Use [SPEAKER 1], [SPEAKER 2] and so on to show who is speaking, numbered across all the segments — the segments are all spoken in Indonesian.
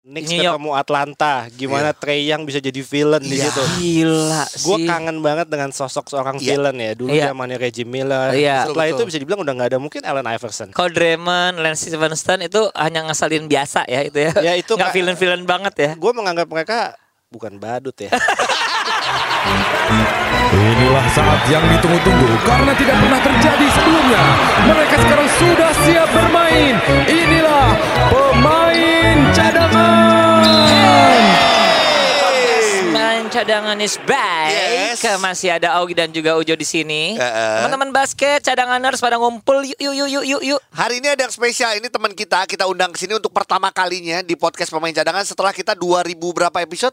[SPEAKER 1] Knicks
[SPEAKER 2] New York.
[SPEAKER 1] ketemu Atlanta,
[SPEAKER 3] Iya.
[SPEAKER 1] gimana Trey Young bisa jadi villain di situ.
[SPEAKER 2] Gila sih.
[SPEAKER 1] Gue kangen banget dengan sosok seorang
[SPEAKER 3] Iya.
[SPEAKER 1] villain ya. Dulu
[SPEAKER 2] Iya.
[SPEAKER 1] zamannya Reggie Miller.
[SPEAKER 2] Iya.
[SPEAKER 1] Setelah
[SPEAKER 3] Betul,
[SPEAKER 1] itu bisa dibilang udah nggak ada mungkin Allen Iverson.
[SPEAKER 2] Kalau Draymond, Lance Stevenson itu hanya ngeselin biasa ya itu ya.
[SPEAKER 1] Ya, itu
[SPEAKER 2] nggak
[SPEAKER 1] Kak.
[SPEAKER 2] villain-villain banget ya.
[SPEAKER 1] Gue menganggap mereka bukan badut ya.
[SPEAKER 4] Inilah saat yang ditunggu-tunggu karena tidak pernah terjadi sebelumnya. Mereka sekarang sudah siap bermain. Inilah pemain cadangan.
[SPEAKER 2] Main cadangan is back.
[SPEAKER 3] Yes.
[SPEAKER 2] Ke- Masih ada Augie dan juga Ujo di sini.
[SPEAKER 3] Heeh.
[SPEAKER 2] Teman-teman basket, cadanganers pada ngumpul. Yuk, yuk, yuk, yuk, yuk, yuk.
[SPEAKER 3] Hari ini ada yang spesial. Ini teman kita, kita undang ke sini untuk pertama kalinya di podcast pemain cadangan setelah kita 2000 berapa episode?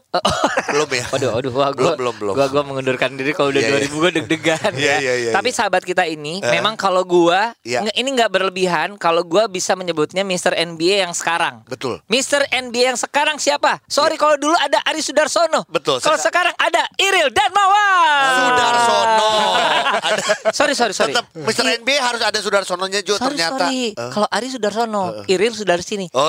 [SPEAKER 3] Belum ya?
[SPEAKER 2] Oh, Waduh, waduh, wah, gua,
[SPEAKER 3] Belum, belum, belum.
[SPEAKER 2] Gua, gua mengundurkan diri kalau udah
[SPEAKER 3] Iya,
[SPEAKER 2] 2000 gua deg-degan. ya.
[SPEAKER 3] Iya, iya, iya,
[SPEAKER 2] Tapi
[SPEAKER 3] iya.
[SPEAKER 2] sahabat kita ini, memang kalau gua
[SPEAKER 3] Iya.
[SPEAKER 2] nge- ini nggak berlebihan kalau gua bisa menyebutnya Mr. NBA yang sekarang.
[SPEAKER 3] Betul.
[SPEAKER 2] Mr. NBA yang sekarang siapa? Sorry kalau dulu ada Ari Sudarsono.
[SPEAKER 3] Ya. Betul,
[SPEAKER 2] Kalau
[SPEAKER 3] seka-
[SPEAKER 2] sekarang ada Iril Darmawan.
[SPEAKER 3] Sudarsono. Ada-
[SPEAKER 2] Ah. sorry, sorry, sorry.
[SPEAKER 3] Tetap Mr. NB harus ada Sudarsononya juga
[SPEAKER 2] Sorry,
[SPEAKER 3] ternyata. eh.
[SPEAKER 2] sorry. Kalau Ari Sudarsono, Iril sudah di sini.
[SPEAKER 3] Oh,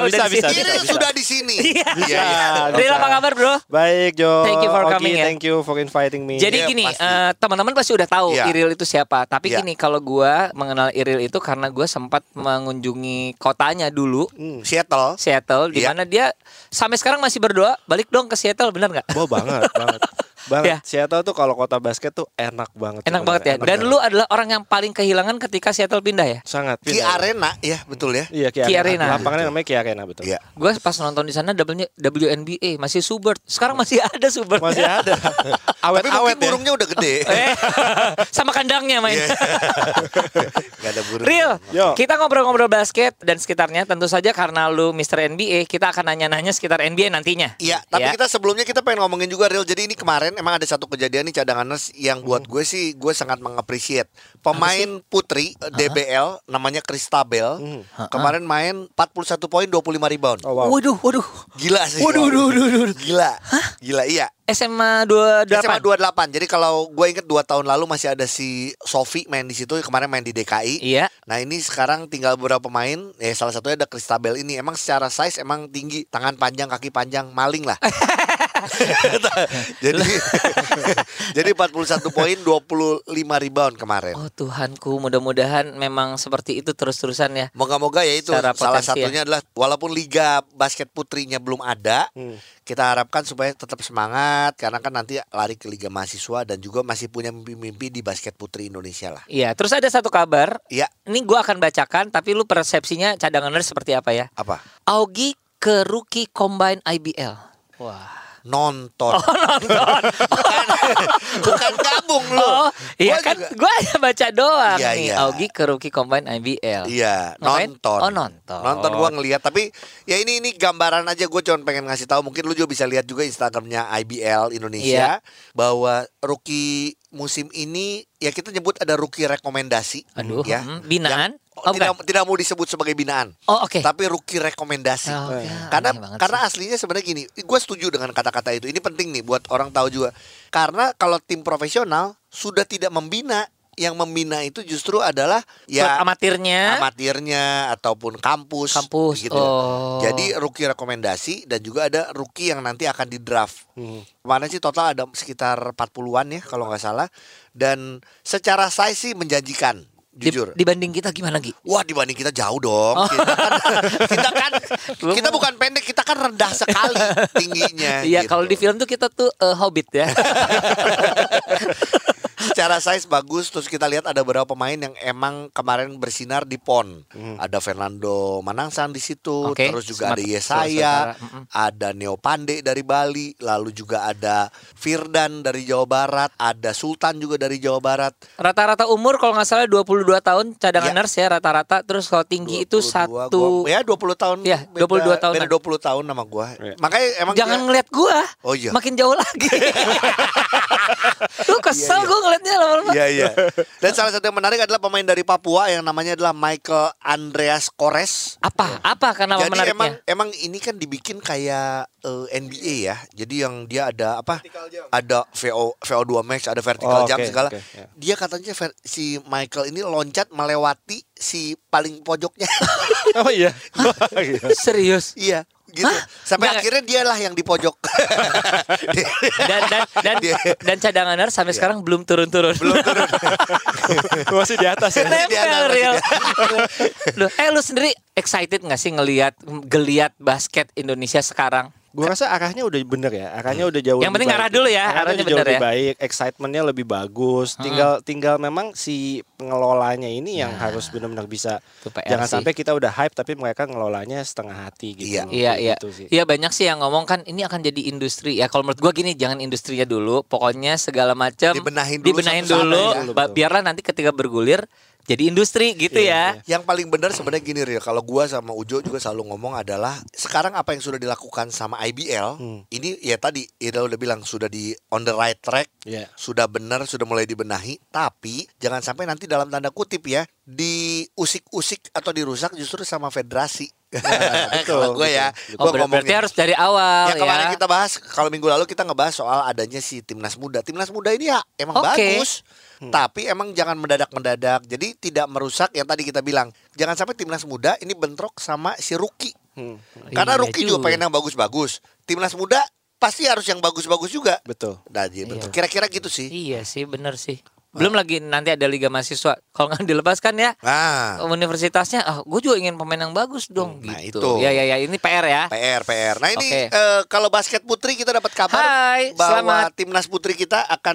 [SPEAKER 2] udah
[SPEAKER 1] Bisa,
[SPEAKER 2] di sini.
[SPEAKER 1] bisa,
[SPEAKER 3] Iril
[SPEAKER 1] bisa.
[SPEAKER 3] sudah di sini.
[SPEAKER 2] Iya.
[SPEAKER 3] Iya, iya.
[SPEAKER 1] Bisa.
[SPEAKER 2] Iril apa kabar, Bro?
[SPEAKER 1] Baik Jo.
[SPEAKER 2] Thank you for
[SPEAKER 1] Oki,
[SPEAKER 2] coming, ya.
[SPEAKER 1] Thank you for inviting me.
[SPEAKER 2] Jadi
[SPEAKER 3] Iya,
[SPEAKER 2] gini,
[SPEAKER 3] pasti.
[SPEAKER 2] eh, teman-teman pasti udah tahu
[SPEAKER 3] Iya.
[SPEAKER 2] Iril itu siapa. Tapi
[SPEAKER 3] Iya.
[SPEAKER 2] gini, kalau gua mengenal Iril itu karena gua sempat mengunjungi kotanya dulu,
[SPEAKER 3] Seattle.
[SPEAKER 2] Seattle, di
[SPEAKER 3] Hmm. Iya.
[SPEAKER 2] mana dia sampai sekarang masih berdoa balik dong ke Seattle, benar nggak?
[SPEAKER 1] Wah banget, banget. Banget.
[SPEAKER 2] Ya.
[SPEAKER 1] Seattle tuh kalau kota basket tuh enak banget. sebenarnya,
[SPEAKER 2] Enak banget ya.
[SPEAKER 1] enak
[SPEAKER 2] Dan
[SPEAKER 1] banget.
[SPEAKER 2] lu adalah orang yang paling kehilangan ketika Seattle pindah ya.
[SPEAKER 1] sangat
[SPEAKER 3] Di
[SPEAKER 1] pindah.
[SPEAKER 3] arena ya, betul ya.
[SPEAKER 1] Iya, Ki
[SPEAKER 2] Ki
[SPEAKER 1] Arena.
[SPEAKER 2] Arena.
[SPEAKER 1] Lapangannya namanya Ki Arena betul.
[SPEAKER 3] Iya.
[SPEAKER 2] Gue pas nonton di sana W- WNBA masih Subert. Sekarang masih ada Subert.
[SPEAKER 1] Masih ada.
[SPEAKER 3] Tapi mungkin
[SPEAKER 1] Awet-awet ya.
[SPEAKER 3] burungnya udah gede.
[SPEAKER 2] Eh, sama kandangnya main.
[SPEAKER 3] Gak ada burung.
[SPEAKER 2] Real,
[SPEAKER 1] Iya. Yo.
[SPEAKER 2] kita ngobrol-ngobrol basket dan sekitarnya tentu saja karena lu Mr. NBA, kita akan nanya-nanya sekitar NBA nantinya.
[SPEAKER 3] Iya, tapi
[SPEAKER 2] Ya.
[SPEAKER 3] kita sebelumnya kita pengen ngomongin juga real. Jadi ini kemarin emang ada satu kejadian nih cadanganers yang buat gue sih gue sangat mengapresiat. Pemain putri eh, DBL namanya Kristabel kemarin main 41 poin 25 rebound.
[SPEAKER 1] Oh, wow. Iya.
[SPEAKER 2] Waduh, waduh.
[SPEAKER 3] Gila sih.
[SPEAKER 2] Waduh, waduh, waduh, waduh.
[SPEAKER 3] Gila. Gila, iya.
[SPEAKER 2] SMA 28.
[SPEAKER 3] SMA 28. Jadi kalau gue inget 2 tahun lalu masih ada si Sofi main di situ kemarin main di DKI.
[SPEAKER 2] Iya.
[SPEAKER 3] Nah ini sekarang tinggal beberapa pemain ya salah satunya ada Kristabel ini emang secara size emang tinggi tangan panjang kaki panjang maling lah jadi jadi 41 poin 25 rebound kemarin
[SPEAKER 2] Oh Tuhanku, mudah-mudahan memang seperti itu terus-terusan ya.
[SPEAKER 3] Moga-moga ya itu
[SPEAKER 2] Secara potensi
[SPEAKER 3] salah
[SPEAKER 2] ya.
[SPEAKER 3] satunya adalah walaupun liga basket putrinya belum ada,
[SPEAKER 2] Hmm.
[SPEAKER 3] kita harapkan supaya tetap semangat karena kan nanti lari ke liga mahasiswa dan juga masih punya mimpi-mimpi di basket putri Indonesia lah.
[SPEAKER 2] Iya, terus ada satu kabar.
[SPEAKER 3] Iya,
[SPEAKER 2] Ini gua akan bacakan tapi lu persepsinya cadangannya seperti apa ya?
[SPEAKER 3] apa?
[SPEAKER 2] Augie ke rookie combine IBL. Wah.
[SPEAKER 3] Nonton.
[SPEAKER 2] Oh,
[SPEAKER 3] bukan, bukan gabung
[SPEAKER 2] Oh,
[SPEAKER 3] loh.
[SPEAKER 2] iya
[SPEAKER 3] Gua
[SPEAKER 2] kan
[SPEAKER 3] juga-
[SPEAKER 2] gua hanya baca doang
[SPEAKER 3] Iya,
[SPEAKER 2] nih.
[SPEAKER 3] iya.
[SPEAKER 2] Augie ke rookie combine IBL.
[SPEAKER 3] Iya,
[SPEAKER 2] Ngapain?
[SPEAKER 3] nonton.
[SPEAKER 2] Oh, nonton.
[SPEAKER 3] Nonton gua ngelihat tapi ya ini ini gambaran aja gue cuman pengen ngasih tahu mungkin lu juga bisa lihat juga Instagramnya IBL Indonesia
[SPEAKER 2] Iya.
[SPEAKER 3] bahwa rookie musim ini ya kita nyebut ada rookie rekomendasi.
[SPEAKER 2] Aduh,
[SPEAKER 3] ya.
[SPEAKER 2] hmm, binaan?
[SPEAKER 3] Yang-
[SPEAKER 2] Oh,
[SPEAKER 3] tidak
[SPEAKER 2] bukan.
[SPEAKER 3] tidak mau disebut sebagai binaan.
[SPEAKER 2] Oh, oke.
[SPEAKER 3] Tapi rookie rekomendasi.
[SPEAKER 2] Oh, ya,
[SPEAKER 3] Karena
[SPEAKER 2] aneh banget
[SPEAKER 3] karena aslinya sebenarnya gini, gue setuju dengan kata-kata itu. Ini penting nih buat orang tahu juga. Karena kalau tim profesional sudah tidak membina, yang membina itu justru adalah ya
[SPEAKER 2] Klub amatirnya.
[SPEAKER 3] amatirnya ataupun kampus
[SPEAKER 2] Kampus,
[SPEAKER 3] gitu.
[SPEAKER 2] oh.
[SPEAKER 3] Jadi rookie rekomendasi dan juga ada rookie yang nanti akan di draft.
[SPEAKER 2] Hmm.
[SPEAKER 3] Kemarin sih total ada sekitar 40-an ya kalau nggak salah dan secara size sih menjanjikan
[SPEAKER 2] Di- Oh.
[SPEAKER 3] jujur.
[SPEAKER 2] dibanding kita gimana Gi?
[SPEAKER 3] Wah dibanding kita jauh dong. Kita kan kita kan kita bukan pendek, kita kan rendah sekali tingginya.
[SPEAKER 2] Iya,
[SPEAKER 3] gitu.
[SPEAKER 2] kalau di film tuh kita tuh eh, hobbit ya.
[SPEAKER 3] secara size bagus terus kita lihat ada beberapa pemain yang emang kemarin bersinar di PON. Ada Fernando Manangsang di situ,
[SPEAKER 2] Hmm. Oke,
[SPEAKER 3] terus juga ada
[SPEAKER 2] Sumatera-
[SPEAKER 3] Yesaya,
[SPEAKER 2] Sumatera, mm-mm.
[SPEAKER 3] ada Neo Pande dari Bali, lalu juga ada Firdan dari Jawa Barat, ada Sultan juga dari Jawa Barat.
[SPEAKER 2] Rata-rata umur kalau nggak salah 22 tahun
[SPEAKER 3] Iya.
[SPEAKER 2] cadangan nurse ya rata-rata terus kalau tinggi itu
[SPEAKER 3] 22,
[SPEAKER 2] satu
[SPEAKER 3] gua- ya 20 tahun.
[SPEAKER 2] Iya,
[SPEAKER 3] beda-
[SPEAKER 2] 22 tahunan.
[SPEAKER 3] Beda 20 tahun sama gua. Makanya emang
[SPEAKER 2] Iya. Jangan
[SPEAKER 3] dia-
[SPEAKER 2] ngeliat gua.
[SPEAKER 3] Oh, iya.
[SPEAKER 2] Makin jauh lagi. Lu kesel gua ngeliatnya lama-lama.
[SPEAKER 3] Iya iya. Dan salah satu yang menarik adalah pemain dari Papua yang namanya adalah Michael Andreas Kores.
[SPEAKER 2] Apa? Apa karena
[SPEAKER 3] Jadi
[SPEAKER 2] menariknya?
[SPEAKER 3] emang emang ini kan dibikin kayak eh, NBA ya. Jadi yang dia ada apa? Ada VO VO2 max, ada vertical
[SPEAKER 1] Oh,
[SPEAKER 3] jump
[SPEAKER 1] oke,
[SPEAKER 3] segala.
[SPEAKER 1] oke, ya.
[SPEAKER 3] Dia katanya ver- si Michael ini loncat melewati si paling pojoknya.
[SPEAKER 1] Oh iya. Iya.
[SPEAKER 2] Serius.
[SPEAKER 3] iya. gitu. Sampai
[SPEAKER 2] Nggak.
[SPEAKER 3] akhirnya dialah yang di pojok.
[SPEAKER 2] Dan dan dan,
[SPEAKER 3] Dia-
[SPEAKER 2] dan cadanganer sampai
[SPEAKER 3] Iya.
[SPEAKER 2] sekarang belum turun-turun. Belum turun.
[SPEAKER 1] Masih di atas ya.
[SPEAKER 3] Dia Iya, nggak
[SPEAKER 2] Nempel
[SPEAKER 3] ngerti
[SPEAKER 2] real. Lu, eh lu sendiri excited nggak sih ngelihat geliat basket Indonesia sekarang?
[SPEAKER 3] Hmm,
[SPEAKER 1] Gue rasa arahnya udah bener ya, arahnya udah jauh.
[SPEAKER 2] Yang
[SPEAKER 1] lebih
[SPEAKER 2] penting
[SPEAKER 1] baik.
[SPEAKER 2] arah dulu ya,
[SPEAKER 1] arahnya,
[SPEAKER 2] arahnya
[SPEAKER 1] udah jauh
[SPEAKER 2] bener
[SPEAKER 1] lebih
[SPEAKER 2] ya.
[SPEAKER 1] baik, excitementnya lebih bagus. Tinggal tinggal memang si pengelolanya ini yang harus benar-benar bisa.
[SPEAKER 2] Nah, Itu PR
[SPEAKER 1] Jangan
[SPEAKER 2] sih.
[SPEAKER 1] sampai kita udah hype tapi mereka ngelolanya setengah hati gitu.
[SPEAKER 3] Iya.
[SPEAKER 1] loh.
[SPEAKER 2] Iya iya.
[SPEAKER 1] Gitu sih.
[SPEAKER 2] Iya banyak sih yang ngomong kan ini akan jadi industri. Ya kalau menurut gua gini jangan industrinya dulu, pokoknya segala macam
[SPEAKER 3] Dibenahin dulu Iya,
[SPEAKER 2] dibenahin
[SPEAKER 3] satu-satu
[SPEAKER 2] dulu,
[SPEAKER 1] ya.
[SPEAKER 2] ba- biarlah nanti ketika bergulir jadi industri gitu
[SPEAKER 3] Iya,
[SPEAKER 2] ya.
[SPEAKER 3] Yang paling benar sebenarnya gini Rio, kalau gua sama Ujo juga selalu ngomong adalah sekarang apa yang sudah dilakukan sama IBL,
[SPEAKER 2] Hmm.
[SPEAKER 3] ini ya tadi Ira udah bilang sudah di on the right track,
[SPEAKER 1] Iya.
[SPEAKER 2] Ya.
[SPEAKER 3] sudah benar, sudah mulai dibenahi, tapi jangan sampai nanti dalam tanda kutip ya diusik-usik atau dirusak justru sama federasi.
[SPEAKER 1] betul,
[SPEAKER 3] Kalau gue ya,
[SPEAKER 1] betul, betul.
[SPEAKER 2] Oh,
[SPEAKER 3] gue
[SPEAKER 2] ber- berarti harus dari awal
[SPEAKER 3] Ya
[SPEAKER 2] ya.
[SPEAKER 3] kemarin kita bahas kalau minggu lalu kita ngebahas soal adanya si timnas muda. Timnas muda ini ya emang
[SPEAKER 2] Oke. Hmm.
[SPEAKER 3] bagus, tapi emang jangan mendadak-mendadak. Jadi tidak merusak yang tadi kita bilang. Jangan sampai timnas muda ini bentrok sama si rookie.
[SPEAKER 1] Hmm,
[SPEAKER 3] Karena
[SPEAKER 2] Iya
[SPEAKER 3] rookie juga
[SPEAKER 2] juga.
[SPEAKER 3] pengen yang bagus-bagus. Timnas muda pasti harus yang bagus-bagus juga.
[SPEAKER 1] Betul.
[SPEAKER 3] Nah, jadi betul.
[SPEAKER 2] Iya.
[SPEAKER 3] Kira-kira gitu sih.
[SPEAKER 2] Iya sih bener sih. Belum lagi nanti ada liga mahasiswa. Kalau nggak dilepaskan ya
[SPEAKER 3] Nah,
[SPEAKER 2] universitasnya, ah gue juga ingin pemain yang bagus dong
[SPEAKER 3] Nah,
[SPEAKER 2] gitu.
[SPEAKER 3] itu.
[SPEAKER 2] Ya ya ya ini PR ya.
[SPEAKER 3] PR PR. Nah ini
[SPEAKER 2] Oke.
[SPEAKER 3] eh, kalau basket putri kita dapat kabar
[SPEAKER 2] Hai,
[SPEAKER 3] bahwa
[SPEAKER 2] selamat.
[SPEAKER 3] timnas putri kita akan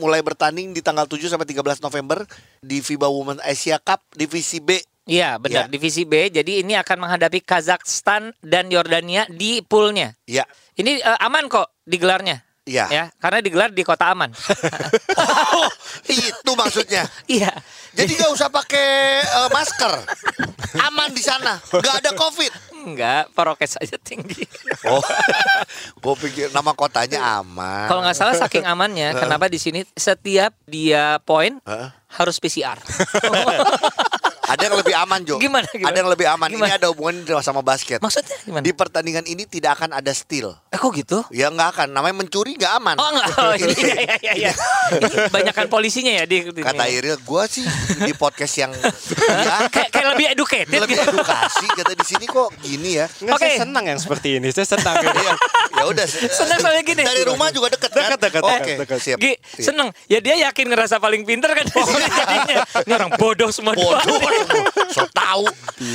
[SPEAKER 3] mulai bertanding di tanggal 7 sampai 13 November di FIBA Women Asia Cup divisi B.
[SPEAKER 2] Iya benar
[SPEAKER 3] Ya.
[SPEAKER 2] divisi B. Jadi ini akan menghadapi Kazakhstan dan Yordania di poolnya.
[SPEAKER 3] Ya,
[SPEAKER 2] Ini eh, aman kok digelarnya.
[SPEAKER 3] Iya.
[SPEAKER 2] Ya, karena digelar di kota aman.
[SPEAKER 3] itu maksudnya.
[SPEAKER 2] iya.
[SPEAKER 3] Jadi nggak usah pakai eh, masker. Aman di sana, nggak ada covid.
[SPEAKER 2] Enggak, prokes aja tinggi.
[SPEAKER 3] Oh, gue pikir nama kotanya aman.
[SPEAKER 2] Kalau nggak salah saking
[SPEAKER 3] Nah.
[SPEAKER 2] amannya, kenapa di sini setiap dia poin
[SPEAKER 3] Heeh.
[SPEAKER 2] harus PCR.
[SPEAKER 3] ada yang lebih aman Jo.
[SPEAKER 2] Gimana, gimana?
[SPEAKER 3] Ada yang lebih aman. Ini
[SPEAKER 2] Gimana?
[SPEAKER 3] ada hubungan sama basket.
[SPEAKER 2] Maksudnya gimana?
[SPEAKER 3] Di pertandingan ini tidak akan ada steal.
[SPEAKER 2] Eh kok gitu?
[SPEAKER 3] Ya nggak akan. Namanya mencuri nggak aman.
[SPEAKER 2] Oh enggak, oh, ini, iya, iya, iya, iya. Ini banyakan polisinya ya di di-
[SPEAKER 3] Kata Iril, gue sih di podcast yang ya,
[SPEAKER 2] kayak, kayak lebih educated
[SPEAKER 3] lebih
[SPEAKER 2] gitu.
[SPEAKER 3] edukasi. Kata di sini kok gini ya.
[SPEAKER 1] Nggak, saya
[SPEAKER 2] Oke.
[SPEAKER 1] senang yang seperti ini. Saya senang.
[SPEAKER 3] Ya, ya udah.
[SPEAKER 2] Senang soalnya gini.
[SPEAKER 3] Dari rumah juga deket kan?
[SPEAKER 1] Deket, deket,
[SPEAKER 3] Oke,
[SPEAKER 1] deket, deket.
[SPEAKER 3] siap. Iya.
[SPEAKER 2] Gi, seneng. Ya dia yakin ngerasa paling pinter kan di sini jadinya. Ini orang bodoh semua.
[SPEAKER 3] Oh, Bodoh,
[SPEAKER 2] dua.
[SPEAKER 3] so tau.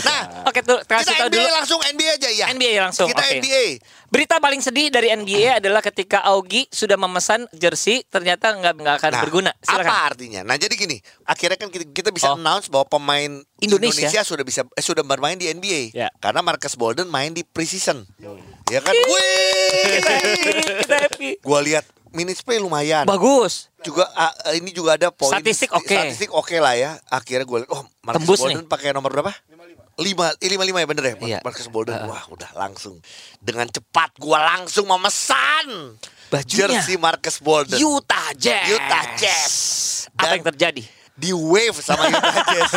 [SPEAKER 3] Nah,
[SPEAKER 2] Oke, tuh kasih
[SPEAKER 3] kita
[SPEAKER 2] tahu
[SPEAKER 3] NBA
[SPEAKER 2] dulu.
[SPEAKER 3] langsung NBA aja ya.
[SPEAKER 2] NBA langsung,
[SPEAKER 3] Kita
[SPEAKER 2] oke.
[SPEAKER 3] NBA.
[SPEAKER 2] Berita paling sedih dari NBA adalah ketika Augie sudah memesan jersey ternyata nggak nggak akan
[SPEAKER 3] Nah,
[SPEAKER 2] berguna.
[SPEAKER 3] apa
[SPEAKER 2] Silakan.
[SPEAKER 3] artinya? Nah, jadi gini, akhirnya kan kita, kita bisa
[SPEAKER 2] Oh.
[SPEAKER 3] announce bahwa pemain
[SPEAKER 2] Indonesia.
[SPEAKER 3] Indonesia, sudah bisa eh, sudah bermain di NBA.
[SPEAKER 1] Ya.
[SPEAKER 3] Karena Marcus Bolden main di preseason. Ya kan? Wih.
[SPEAKER 2] Kita happy.
[SPEAKER 3] Gua lihat minutes play lumayan.
[SPEAKER 2] Bagus.
[SPEAKER 3] juga ah, ah, ini juga ada poin
[SPEAKER 2] Statistik oke.
[SPEAKER 3] statistik oke lah ya akhirnya gue lihat oh Marcus
[SPEAKER 2] Tembus
[SPEAKER 3] Bolden pakai nomor berapa lima eh, lima lima ya bener ya Mar-
[SPEAKER 2] Iya.
[SPEAKER 3] Marcus Bolden wah udah langsung dengan cepat gue langsung memesan
[SPEAKER 2] Bajunya.
[SPEAKER 3] jersey Marcus Bolden
[SPEAKER 2] Utah Jazz.
[SPEAKER 3] Utah Jazz.
[SPEAKER 2] Apa
[SPEAKER 3] Dan-
[SPEAKER 2] yang terjadi?
[SPEAKER 3] di wave sama Utah Jazz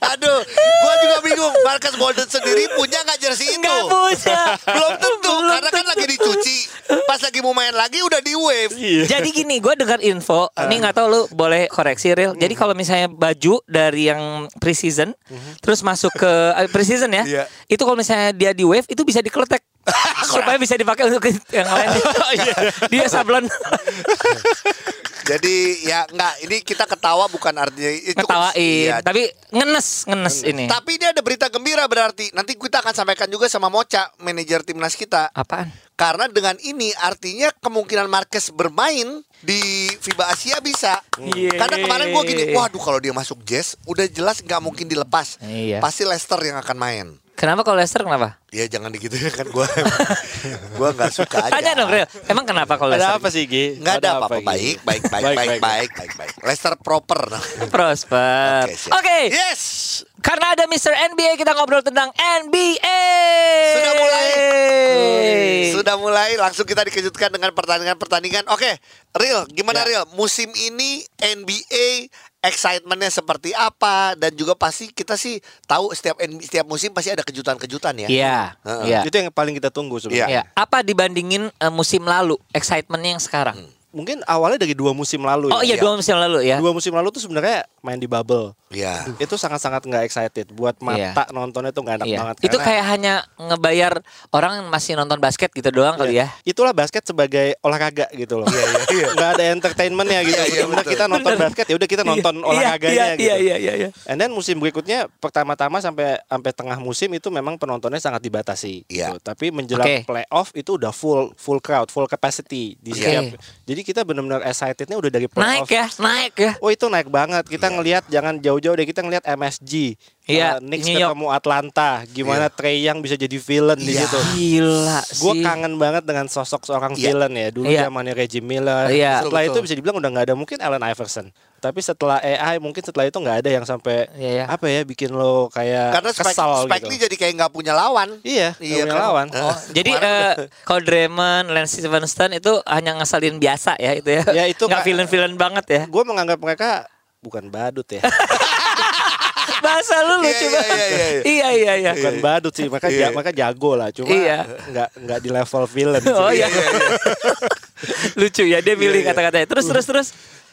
[SPEAKER 3] aduh gue juga bingung Marcus Bolden sendiri punya nggak jersey itu
[SPEAKER 2] Nggak punya.
[SPEAKER 3] belum tentu
[SPEAKER 2] Belum
[SPEAKER 3] karena kan lagi dicuci pas lagi mau main lagi udah di wave
[SPEAKER 2] Jadi gini, gue dengar info,
[SPEAKER 3] Ah.
[SPEAKER 2] ini nggak tahu lu boleh koreksi real. Jadi
[SPEAKER 3] Hmm.
[SPEAKER 2] kalau misalnya baju dari yang preseason, terus masuk ke eh, preseason ya,
[SPEAKER 3] Iya.
[SPEAKER 2] itu kalau misalnya dia di wave itu bisa dikeletek supaya bisa dipakai untuk yang lain.
[SPEAKER 3] Iya.
[SPEAKER 2] dia sablon.
[SPEAKER 3] Jadi ya enggak ini kita ketawa bukan artinya itu
[SPEAKER 2] Ngetawain,
[SPEAKER 3] Iya. tapi
[SPEAKER 2] tapi ngenes, ngenes ini.
[SPEAKER 3] ini ada berita gembira berarti. Nanti kita akan sampaikan juga sama Mocha, manajer timnas kita.
[SPEAKER 2] Apaan?
[SPEAKER 3] Karena dengan ini artinya kemungkinan Marquez bermain di FIBA Asia bisa.
[SPEAKER 2] Iya.
[SPEAKER 3] Karena kemarin gua gini, waduh kalau dia masuk Jazz udah jelas nggak mungkin dilepas.
[SPEAKER 2] Iya.
[SPEAKER 3] Pasti Leicester yang akan main.
[SPEAKER 2] Kenapa kalau Leicester kenapa?
[SPEAKER 3] Ya jangan digitu kan gua gua nggak suka aja.
[SPEAKER 2] Tanya dong real, emang kenapa kalau
[SPEAKER 1] Ada
[SPEAKER 2] Leicester?
[SPEAKER 1] apa sih Gi?
[SPEAKER 3] Nggak ada apa-apa
[SPEAKER 1] Gi?
[SPEAKER 3] baik, baik, baik, baik, baik, baik, baik, Leicester proper.
[SPEAKER 2] Prosper.
[SPEAKER 3] Oke, siap. Iya.
[SPEAKER 2] Oke,
[SPEAKER 3] Yes.
[SPEAKER 2] Karena ada Mr. NBA kita ngobrol tentang NBA.
[SPEAKER 3] Sudah mulai. Sudah mulai langsung kita dikejutkan dengan pertandingan-pertandingan. Oke, Real, gimana Real? Musim ini NBA excitementnya seperti apa dan juga pasti kita sih tahu setiap NBA setiap musim pasti ada kejutan-kejutan ya.
[SPEAKER 2] Iya.
[SPEAKER 3] Heeh.
[SPEAKER 2] Iya.
[SPEAKER 1] Itu yang paling kita tunggu sebenarnya.
[SPEAKER 2] Iya. Apa dibandingin eh, musim lalu excitementnya yang sekarang?
[SPEAKER 1] mungkin awalnya dari Hmm. dua musim lalu.
[SPEAKER 2] Oh iya
[SPEAKER 1] ya.
[SPEAKER 2] dua musim lalu ya.
[SPEAKER 1] Dua musim lalu tuh sebenarnya main di bubble.
[SPEAKER 3] Iya.
[SPEAKER 1] Itu sangat-sangat nggak excited buat mata nontonnya tuh nggak enak
[SPEAKER 2] Iya.
[SPEAKER 1] banget.
[SPEAKER 2] Itu
[SPEAKER 1] karena-
[SPEAKER 2] kayak hanya ngebayar orang masih nonton basket gitu doang kali ya.
[SPEAKER 1] Iya. Itulah basket sebagai olahraga gitu loh. Iya
[SPEAKER 3] iya.
[SPEAKER 1] Nggak ada entertainmentnya gitu.
[SPEAKER 3] Iya, iya,
[SPEAKER 1] Bener-bener
[SPEAKER 3] betul.
[SPEAKER 1] kita nonton
[SPEAKER 2] Bener.
[SPEAKER 1] basket ya udah kita nonton
[SPEAKER 2] Iya,
[SPEAKER 1] olahraganya
[SPEAKER 2] iya,
[SPEAKER 1] gitu.
[SPEAKER 2] Iya iya iya iya.
[SPEAKER 1] And then musim berikutnya pertama-tama sampai sampai tengah musim itu memang penontonnya sangat dibatasi. gitu.
[SPEAKER 3] Iya.
[SPEAKER 1] Tapi menjelang
[SPEAKER 2] Oke.
[SPEAKER 1] playoff itu udah full full crowd, full capacity di
[SPEAKER 2] Oke.
[SPEAKER 1] setiap. Jadi kita benar-benar excitednya udah dari
[SPEAKER 2] Naik
[SPEAKER 1] playoff.
[SPEAKER 2] ya, naik ya.
[SPEAKER 1] Oh itu naik banget. Kita ngelihat jangan jauh-jauh deh kita ngelihat MSG.
[SPEAKER 2] Iya,
[SPEAKER 1] Eh, Knicks
[SPEAKER 2] New York. Iya.
[SPEAKER 1] ketemu Atlanta. Gimana Trey Young bisa jadi villain di
[SPEAKER 3] Iya.
[SPEAKER 1] situ.
[SPEAKER 2] Gila sih.
[SPEAKER 1] Gue kangen banget dengan sosok seorang
[SPEAKER 3] Iya.
[SPEAKER 1] villain ya. Dulu
[SPEAKER 2] Iya.
[SPEAKER 1] zamannya Reggie Miller.
[SPEAKER 2] Iya.
[SPEAKER 1] Setelah
[SPEAKER 3] Betul,
[SPEAKER 1] itu bisa dibilang udah nggak ada mungkin Allen Iverson. Tapi setelah AI mungkin setelah itu nggak ada yang sampai
[SPEAKER 2] Iya, iya.
[SPEAKER 1] apa ya bikin lo kayak
[SPEAKER 3] Karena Spike,
[SPEAKER 1] kesal
[SPEAKER 3] Spike
[SPEAKER 1] gitu.
[SPEAKER 3] Lee jadi kayak nggak punya lawan.
[SPEAKER 1] Iya, iya
[SPEAKER 3] kan?
[SPEAKER 1] lawan.
[SPEAKER 3] Eh,
[SPEAKER 2] Jadi eh, kalau Draymond, Lance Stevenson itu hanya ngeselin biasa ya itu ya.
[SPEAKER 1] Ya, itu
[SPEAKER 2] nggak
[SPEAKER 1] nggak-
[SPEAKER 2] villain-villain banget ya.
[SPEAKER 1] Gue menganggap mereka bukan badut ya.
[SPEAKER 2] Bahasa lu
[SPEAKER 3] Iya,
[SPEAKER 2] lucu
[SPEAKER 3] iya,
[SPEAKER 2] banget.
[SPEAKER 3] iya, iya, iya.
[SPEAKER 2] Iya iya iya.
[SPEAKER 1] bukan badut sih, mereka ja- mereka jago lah, cuma
[SPEAKER 2] Iya.
[SPEAKER 1] nggak nggak di level villain. sih.
[SPEAKER 2] Oh iya. lucu ya dia
[SPEAKER 3] Iya,
[SPEAKER 2] pilih kata-katanya. Terus terus terus.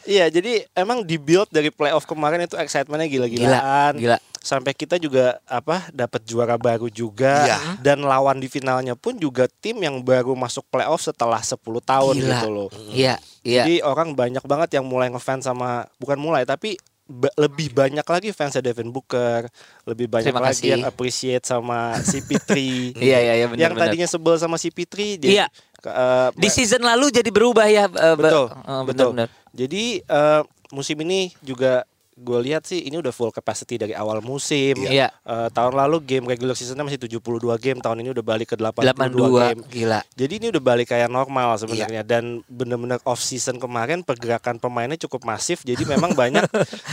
[SPEAKER 1] Iya, jadi emang di build dari playoff kemarin itu excitementnya gila-gilaan.
[SPEAKER 2] Gila, gila.
[SPEAKER 1] Sampai kita juga apa dapat juara baru juga
[SPEAKER 3] Iya.
[SPEAKER 1] dan lawan di finalnya pun juga tim yang baru masuk playoff setelah 10 tahun
[SPEAKER 2] Gila.
[SPEAKER 1] gitu loh.
[SPEAKER 2] Iya iya.
[SPEAKER 1] Jadi orang banyak banget yang mulai ngefans sama bukan mulai tapi ba- lebih banyak lagi fansnya Devin Booker, lebih banyak
[SPEAKER 2] Terima
[SPEAKER 1] lagi
[SPEAKER 2] kasih.
[SPEAKER 1] yang appreciate sama CP3.
[SPEAKER 2] Iya iya iya benar
[SPEAKER 1] yang
[SPEAKER 2] benar.
[SPEAKER 1] tadinya sebel sama CP3 jadi
[SPEAKER 2] Iya.
[SPEAKER 1] ke- eh,
[SPEAKER 2] Di season lalu jadi berubah ya. eh, be-
[SPEAKER 1] betul
[SPEAKER 2] eh,
[SPEAKER 1] betul
[SPEAKER 2] benar-benar.
[SPEAKER 1] jadi eh, musim ini juga gue lihat sih ini udah full capacity dari awal musim
[SPEAKER 2] Iya.
[SPEAKER 1] Eh, tahun lalu game regular seasonnya masih 72 game tahun ini udah balik ke 82,
[SPEAKER 2] 82
[SPEAKER 1] game
[SPEAKER 2] gila.
[SPEAKER 1] jadi ini udah balik kayak normal sebenarnya dan bener-bener off season kemarin pergerakan pemainnya cukup masif jadi memang banyak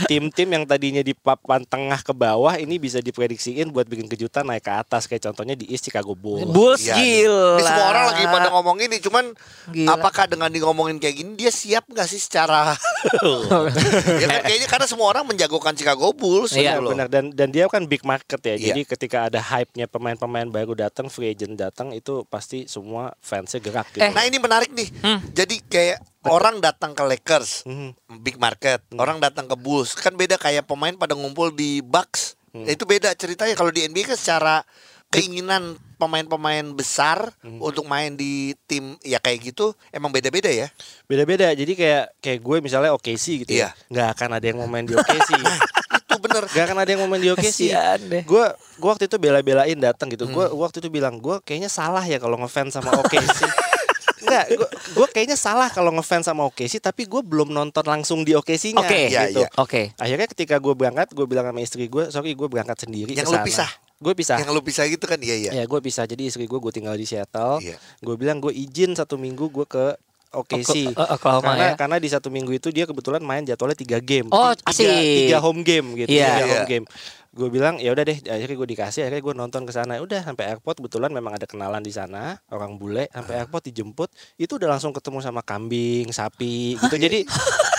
[SPEAKER 1] tim-tim yang tadinya di papan tengah ke bawah ini bisa diprediksiin buat bikin kejutan naik ke atas kayak contohnya di East Chicago Bulls.
[SPEAKER 2] Bulls
[SPEAKER 3] Iya,
[SPEAKER 2] gila.
[SPEAKER 3] Ini semua orang lagi pada ngomong ini, cuman
[SPEAKER 2] Gila.
[SPEAKER 3] apakah dengan di ngomongin kayak gini dia siap nggak sih secara? ya kan, kayaknya karena semua orang menjagokan Chicago Bulls
[SPEAKER 2] Iya,
[SPEAKER 3] gitu loh.
[SPEAKER 1] benar dan dan dia kan big market ya.
[SPEAKER 3] Iya.
[SPEAKER 1] Jadi ketika ada hype-nya pemain-pemain baru datang, free agent datang itu pasti semua fansnya gerak gitu.
[SPEAKER 2] Eh,
[SPEAKER 3] Nah ini menarik nih. Jadi kayak orang datang ke Lakers,
[SPEAKER 1] Hmm.
[SPEAKER 3] big market. Orang datang ke Bulls, kan beda kayak pemain pada ngumpul di Bucks.
[SPEAKER 1] Hmm.
[SPEAKER 3] Itu beda ceritanya kalau di NBA kan secara keinginan pemain-pemain besar
[SPEAKER 1] Hmm.
[SPEAKER 3] untuk main di tim ya kayak gitu emang beda-beda ya.
[SPEAKER 1] Beda-beda. Jadi kayak kayak gue misalnya OKC gitu ya.
[SPEAKER 3] Iya.
[SPEAKER 1] nggak akan ada yang mau main di OKC.
[SPEAKER 3] Itu bener.
[SPEAKER 1] Gak akan ada yang mau main di OKC.
[SPEAKER 2] Kasian deh.
[SPEAKER 1] Gue gue waktu itu bela-belain datang gitu. Gue
[SPEAKER 3] Hmm.
[SPEAKER 1] waktu itu bilang gue kayaknya salah ya kalau ngefans sama OKC. Enggak, gue kayaknya salah kalau ngefans sama OKC tapi gue belum nonton langsung di OKC-nya
[SPEAKER 2] Oke.
[SPEAKER 1] gitu.
[SPEAKER 3] Iya, iya.
[SPEAKER 2] Oke.
[SPEAKER 1] Akhirnya ketika gue berangkat, gue bilang sama istri gue, sorry gue berangkat sendiri. ke
[SPEAKER 3] Yang lu
[SPEAKER 1] sana."
[SPEAKER 3] pisah?
[SPEAKER 1] Gue pisah.
[SPEAKER 3] Yang lu bisa gitu kan iya iya.
[SPEAKER 1] Ya gue pisah. Jadi istri gue gue tinggal di Seattle.
[SPEAKER 3] Iya.
[SPEAKER 1] Gue bilang gue izin satu minggu gue ke OKC.
[SPEAKER 3] Oh,
[SPEAKER 2] Oka-
[SPEAKER 3] eh,
[SPEAKER 2] Oklahoma,
[SPEAKER 1] karena
[SPEAKER 2] ya.
[SPEAKER 1] karena di satu minggu itu dia kebetulan main jadwalnya tiga game.
[SPEAKER 2] Oh,
[SPEAKER 1] Tiga-
[SPEAKER 2] asik.
[SPEAKER 1] Tiga home game gitu.
[SPEAKER 2] Iya.
[SPEAKER 1] Tiga home
[SPEAKER 3] Iya.
[SPEAKER 1] game. Gue bilang ya udah deh. Akhirnya gue dikasih. Akhirnya gue nonton ke sana. Udah sampai airport kebetulan memang ada kenalan di sana orang bule. Sampai
[SPEAKER 3] Ah.
[SPEAKER 1] airport dijemput itu udah langsung ketemu sama kambing, sapi gitu. Jadi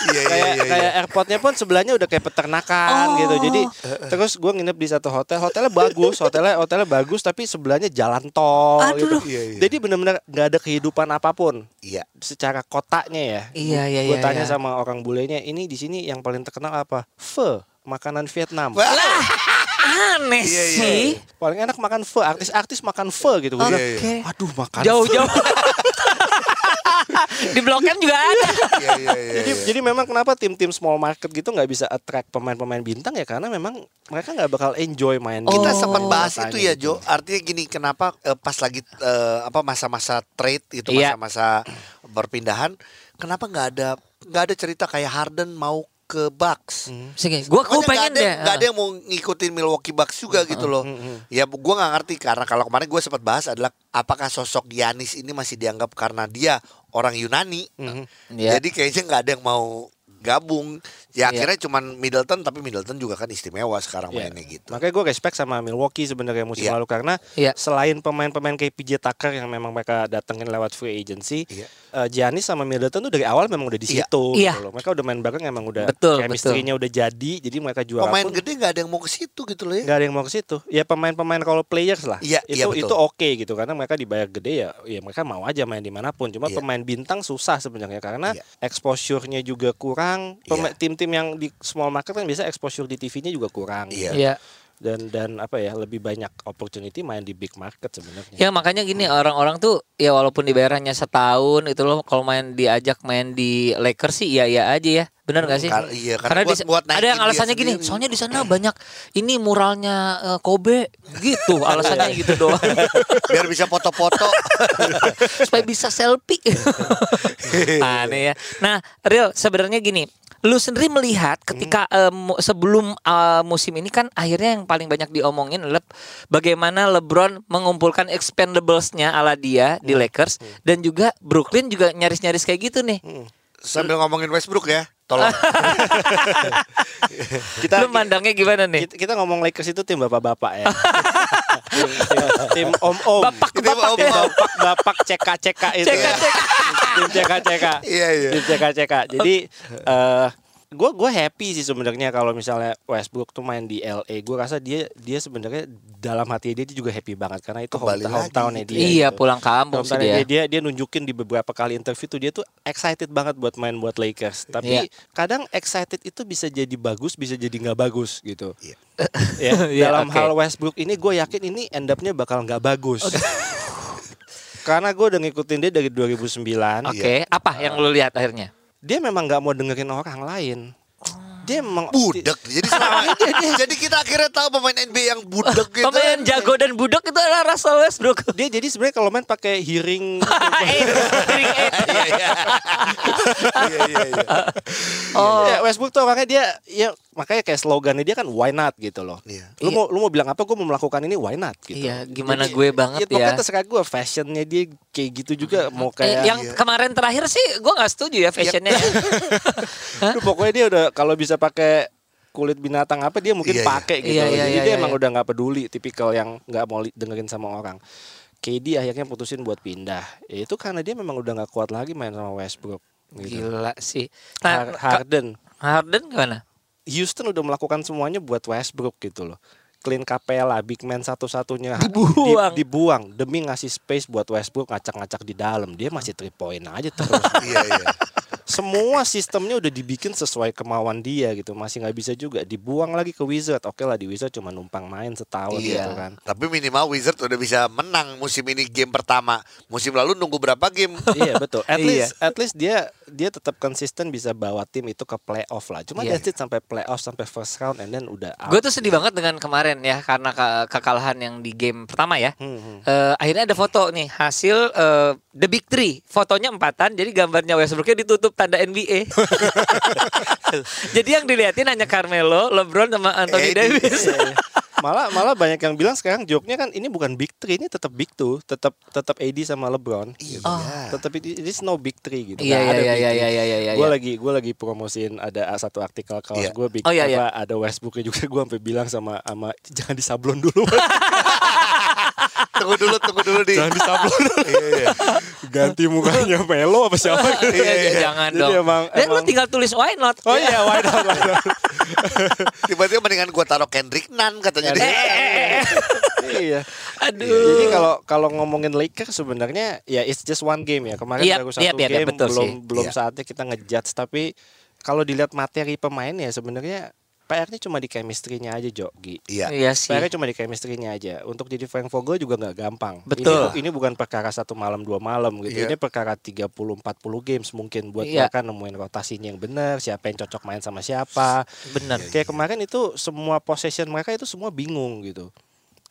[SPEAKER 3] Iya iya
[SPEAKER 1] kayak
[SPEAKER 3] iya.
[SPEAKER 1] kayak airportnya pun sebelahnya udah kayak peternakan
[SPEAKER 2] Oh.
[SPEAKER 1] gitu jadi terus gue nginep di satu hotel hotelnya bagus hotelnya hotelnya bagus tapi sebelahnya jalan tol gitu
[SPEAKER 2] Aduh.
[SPEAKER 3] Iya, iya.
[SPEAKER 1] jadi benar-benar nggak ada kehidupan apapun
[SPEAKER 3] Iya.
[SPEAKER 1] secara kotanya ya
[SPEAKER 2] Iya, iya,
[SPEAKER 1] gue
[SPEAKER 2] iya,
[SPEAKER 1] tanya
[SPEAKER 2] iya.
[SPEAKER 1] sama orang bulenya ini di sini yang paling terkenal apa pho makanan Vietnam
[SPEAKER 3] Wah,
[SPEAKER 2] Aneh
[SPEAKER 3] Iya, iya.
[SPEAKER 2] sih.
[SPEAKER 1] paling enak makan pho artis-artis makan pho gitu gue
[SPEAKER 3] Iya,
[SPEAKER 2] iya.
[SPEAKER 1] aduh makan pho."
[SPEAKER 2] Jauh-jauh. Di Blok M juga ada.
[SPEAKER 3] iya iya iya.
[SPEAKER 1] Jadi, jadi memang kenapa tim-tim small market gitu nggak bisa attract pemain-pemain bintang ya karena memang mereka nggak bakal enjoy main.
[SPEAKER 3] kita
[SPEAKER 2] Oh.
[SPEAKER 1] di
[SPEAKER 3] sempat bahas
[SPEAKER 1] kotanya
[SPEAKER 3] itu ya
[SPEAKER 1] gitu.
[SPEAKER 3] Jo artinya gini kenapa eh, pas lagi eh, apa masa-masa trade itu
[SPEAKER 2] Iya.
[SPEAKER 3] masa-masa perpindahan kenapa nggak ada nggak ada cerita kayak Harden mau ke Bucks
[SPEAKER 2] Sini, gua Hmm. gua pengen
[SPEAKER 3] Makanya
[SPEAKER 2] deh.
[SPEAKER 3] nggak ada,
[SPEAKER 2] eh. Hmm,
[SPEAKER 3] nggak ada yang mau ngikutin Milwaukee Bucks juga gitu loh. Ya gua nggak ngerti karena kalau kemarin gua sempat bahas adalah apakah sosok Giannis ini masih dianggap karena dia orang Yunani. Nah,
[SPEAKER 1] Mhm.
[SPEAKER 2] Iya.
[SPEAKER 3] Jadi kayaknya nggak ada yang mau gabung. Ya akhirnya cuman Middleton tapi Middleton juga kan istimewa sekarang
[SPEAKER 2] Ya.
[SPEAKER 1] Iya.
[SPEAKER 3] mainnya gitu.
[SPEAKER 1] Makanya gue respect sama Milwaukee sebenarnya musim
[SPEAKER 3] Iya.
[SPEAKER 1] lalu karena
[SPEAKER 2] Iya.
[SPEAKER 1] selain pemain-pemain kayak PJ Tucker yang memang mereka datengin lewat free agency,
[SPEAKER 3] Iya.
[SPEAKER 1] eh, Giannis sama Middleton tuh dari awal memang udah di
[SPEAKER 3] Iya.
[SPEAKER 1] situ.
[SPEAKER 2] Iya.
[SPEAKER 1] gitu loh. Mereka udah main bareng emang udah
[SPEAKER 2] Betul,
[SPEAKER 1] chemistry-nya udah jadi, jadi mereka juara
[SPEAKER 3] Pemain
[SPEAKER 1] pun
[SPEAKER 3] gede nggak ada yang mau ke situ gitu loh ya.
[SPEAKER 1] Eh. nggak ada yang mau ke situ. Ya pemain-pemain kalau players lah,
[SPEAKER 3] Iya,
[SPEAKER 1] itu
[SPEAKER 3] iya,
[SPEAKER 1] itu
[SPEAKER 3] betul.
[SPEAKER 1] oke gitu karena mereka dibayar gede ya, ya mereka mau aja main dimanapun. Cuma
[SPEAKER 3] Iya.
[SPEAKER 1] pemain bintang susah sebenarnya karena
[SPEAKER 3] Iya.
[SPEAKER 1] exposure-nya juga kurang. Pema- Tim-tim yang di small market kan biasa exposure di TV-nya juga kurang.
[SPEAKER 3] Iya.
[SPEAKER 2] Iya.
[SPEAKER 1] dan dan apa ya lebih banyak opportunity main di big market sebenarnya.
[SPEAKER 2] Ya makanya gini orang-orang tuh ya walaupun dibayar hanya setahun itu loh kalau main diajak main di Lakers sih iya iya aja ya. Benar nggak sih?
[SPEAKER 3] kar- iya, karena buat-
[SPEAKER 2] di-
[SPEAKER 3] buat naikin
[SPEAKER 2] ada yang
[SPEAKER 3] dia
[SPEAKER 2] alasannya gini,
[SPEAKER 3] sendiri.
[SPEAKER 2] soalnya di sana banyak ini muralnya eh, Kobe gitu, alasannya gitu doang.
[SPEAKER 3] Biar bisa foto-foto.
[SPEAKER 2] Supaya bisa selfie. Aneh ya. Nah, real sebenarnya gini, lu sendiri melihat ketika eh, mu- sebelum eh, musim ini kan akhirnya yang paling banyak diomongin adalah bagaimana LeBron mengumpulkan expendables-nya ala dia di Lakers dan juga Brooklyn juga nyaris-nyaris kayak gitu nih.
[SPEAKER 3] Sambil ngomongin Westbrook ya. Tolong.
[SPEAKER 1] Nah, Kita
[SPEAKER 2] lu mandangnya gimana nih?
[SPEAKER 1] kita, kita ngomong Lakers itu tim bapak-bapak ya. tim, tim- tim om-om.
[SPEAKER 2] Bapak
[SPEAKER 1] tim
[SPEAKER 3] bapak.
[SPEAKER 1] tim bapak bapak CK-CK itu. ya. tim CK-CK.
[SPEAKER 3] Iya, iya.
[SPEAKER 1] Tim CK-CK. Jadi eh gue gue happy sih sebenarnya kalau misalnya Westbrook tuh main di LA. Gue rasa dia dia sebenarnya dalam hati dia, dia juga happy banget karena itu
[SPEAKER 3] Kembali
[SPEAKER 1] hometown
[SPEAKER 3] lagi
[SPEAKER 1] hometownnya
[SPEAKER 3] gitu
[SPEAKER 1] dia.
[SPEAKER 2] iya,
[SPEAKER 1] gitu.
[SPEAKER 2] pulang kampung sih
[SPEAKER 1] Misalnya
[SPEAKER 2] dia.
[SPEAKER 1] dia. dia dia nunjukin di beberapa kali interview tuh dia tuh excited banget buat main buat Lakers. Tapi
[SPEAKER 2] Iya.
[SPEAKER 1] kadang excited itu bisa jadi bagus, bisa jadi nggak bagus gitu.
[SPEAKER 3] Iya.
[SPEAKER 1] Ya,
[SPEAKER 2] Iya,
[SPEAKER 1] dalam
[SPEAKER 2] oke.
[SPEAKER 1] hal Westbrook ini gue yakin ini end up-nya bakal nggak bagus. Karena gue udah ngikutin dia dari 2009.
[SPEAKER 2] Oke, apa yang lu lihat akhirnya?
[SPEAKER 1] Dia memang nggak mau dengerin orang lain.
[SPEAKER 2] Oh.
[SPEAKER 1] Dia memang
[SPEAKER 3] budak. Jadi selama
[SPEAKER 1] Iya,
[SPEAKER 3] jadi kita akhirnya tahu pemain NBA yang budak gitu.
[SPEAKER 2] Pemain jago dan budok itu adalah Russell Westbrook.
[SPEAKER 1] Dia jadi sebenarnya kalau main pakai hearing
[SPEAKER 2] Eh, ring eight.
[SPEAKER 3] Iya, iya. Iya, iya, iya.
[SPEAKER 2] Oh,
[SPEAKER 1] Ya, Westbrook tuh orangnya dia ya makanya kayak slogannya dia kan why not gitu loh.
[SPEAKER 3] Iya.
[SPEAKER 1] Lu mau lu mau bilang apa gue mau melakukan ini why not gitu.
[SPEAKER 2] Iya, gimana gue banget ya.
[SPEAKER 1] Pokoknya terserah gue fashionnya dia kayak gitu juga mau kayak iya. Gitu.
[SPEAKER 2] Eh, yang kemarin terakhir sih gue nggak setuju ya fashionnya.
[SPEAKER 1] Aduh, pokoknya dia udah kalau bisa pakai kulit binatang apa dia mungkin
[SPEAKER 3] Iya, iya.
[SPEAKER 1] pakai gitu.
[SPEAKER 2] Iya,
[SPEAKER 1] loh.
[SPEAKER 2] iya,
[SPEAKER 1] Jadi
[SPEAKER 2] iya,
[SPEAKER 1] dia
[SPEAKER 2] iya,
[SPEAKER 1] emang
[SPEAKER 2] iya.
[SPEAKER 1] udah nggak peduli tipikal yang nggak mau li- dengerin sama orang. KD akhirnya putusin buat pindah. Ya, itu karena dia memang udah nggak kuat lagi main sama Westbrook. Gitu.
[SPEAKER 2] Gila sih.
[SPEAKER 1] Har-
[SPEAKER 2] Nah, Ka-
[SPEAKER 1] Harden
[SPEAKER 2] Harden gimana?
[SPEAKER 1] Houston udah melakukan semuanya buat Westbrook gitu loh. Clint Capella, big man satu-satunya di-
[SPEAKER 2] Dibuang.
[SPEAKER 1] dibuang demi ngasih space buat Westbrook ngacak-ngacak di dalam. Dia masih three point aja terus.
[SPEAKER 3] Iya, iya.
[SPEAKER 1] Semua sistemnya udah dibikin sesuai kemauan dia gitu. Masih nggak bisa juga dibuang lagi ke Wizard. Oke lah di Wizard cuma numpang main setahun
[SPEAKER 3] Iya.
[SPEAKER 1] gitu kan.
[SPEAKER 3] Tapi minimal Wizard udah bisa menang musim ini game pertama. Musim lalu nunggu berapa game?
[SPEAKER 1] iya betul. At
[SPEAKER 2] Iya.
[SPEAKER 1] least at least dia dia tetap konsisten bisa bawa tim itu ke playoff lah. Cuma
[SPEAKER 2] Iya.
[SPEAKER 1] that's it sampai playoff sampai first round and then udah out.
[SPEAKER 2] Gue tuh sedih banget dengan kemarin ya karena ke- kekalahan yang di game pertama ya.
[SPEAKER 1] Hmm, hmm.
[SPEAKER 2] Eh, akhirnya ada foto nih hasil eh, The Big Three fotonya empatan jadi gambarnya Westbrooknya ditutup tanda NBA jadi yang dilihatin hanya Carmelo, LeBron sama Anthony
[SPEAKER 3] Eddie.
[SPEAKER 2] Davis
[SPEAKER 1] Iya, iya. malah malah banyak yang bilang sekarang joke-nya kan ini bukan big three ini tetap big two tetap tetap AD sama LeBron gitu. tetap it, it is no big three gitu
[SPEAKER 2] Oh. Iya,
[SPEAKER 1] Nggak ada
[SPEAKER 2] iya, iya,
[SPEAKER 1] big
[SPEAKER 2] iya,
[SPEAKER 1] three.
[SPEAKER 2] iya, iya, iya,
[SPEAKER 1] Gua
[SPEAKER 2] iya.
[SPEAKER 1] lagi gue lagi promosiin ada satu artikel kaos
[SPEAKER 3] Iya.
[SPEAKER 1] gue big
[SPEAKER 2] Oh, iya, iya.
[SPEAKER 1] apa, ada Westbrook juga gue sampai bilang sama sama jangan disablon dulu
[SPEAKER 3] Tunggu dulu, tunggu dulu di.
[SPEAKER 1] jangan disablon
[SPEAKER 3] Iya, iya.
[SPEAKER 1] ganti mukanya Melo apa siapa gitu.
[SPEAKER 2] Iya, iya, jangan
[SPEAKER 1] Jadi
[SPEAKER 2] dong
[SPEAKER 1] emang,
[SPEAKER 2] dan lu
[SPEAKER 1] emang-
[SPEAKER 2] tinggal tulis why not ya?
[SPEAKER 1] oh iya why not, why not.
[SPEAKER 3] Tiba-tiba mendingan gua taruh Kendrick Nunn katanya
[SPEAKER 2] Eh,
[SPEAKER 3] dia.
[SPEAKER 1] Kan? iya
[SPEAKER 2] aduh
[SPEAKER 1] Jadi kalau kalau ngomongin Lakers sebenarnya ya it's just one game ya. Kemarin
[SPEAKER 2] Yap,
[SPEAKER 1] baru satu
[SPEAKER 2] yap, yap, yap,
[SPEAKER 1] game
[SPEAKER 2] betul
[SPEAKER 1] belum
[SPEAKER 2] sih.
[SPEAKER 1] belum
[SPEAKER 3] Iya.
[SPEAKER 1] saatnya kita ngejudge tapi kalau dilihat materi pemain ya sebenarnya PR-nya cuma di chemistry-nya aja, Jogi.
[SPEAKER 3] Iya.
[SPEAKER 2] iya sih
[SPEAKER 1] PR-nya cuma di chemistry-nya aja. Untuk jadi Frank Vogel juga nggak gampang. Ini
[SPEAKER 2] Betul.
[SPEAKER 1] bu- Ini, bukan perkara satu malam dua malam gitu.
[SPEAKER 3] Iya.
[SPEAKER 1] Ini perkara 30 40 games mungkin buat
[SPEAKER 2] Iya.
[SPEAKER 1] mereka nemuin rotasinya yang benar, siapa yang cocok main sama siapa.
[SPEAKER 2] bener
[SPEAKER 1] Kayak kemarin itu semua possession mereka itu semua bingung gitu.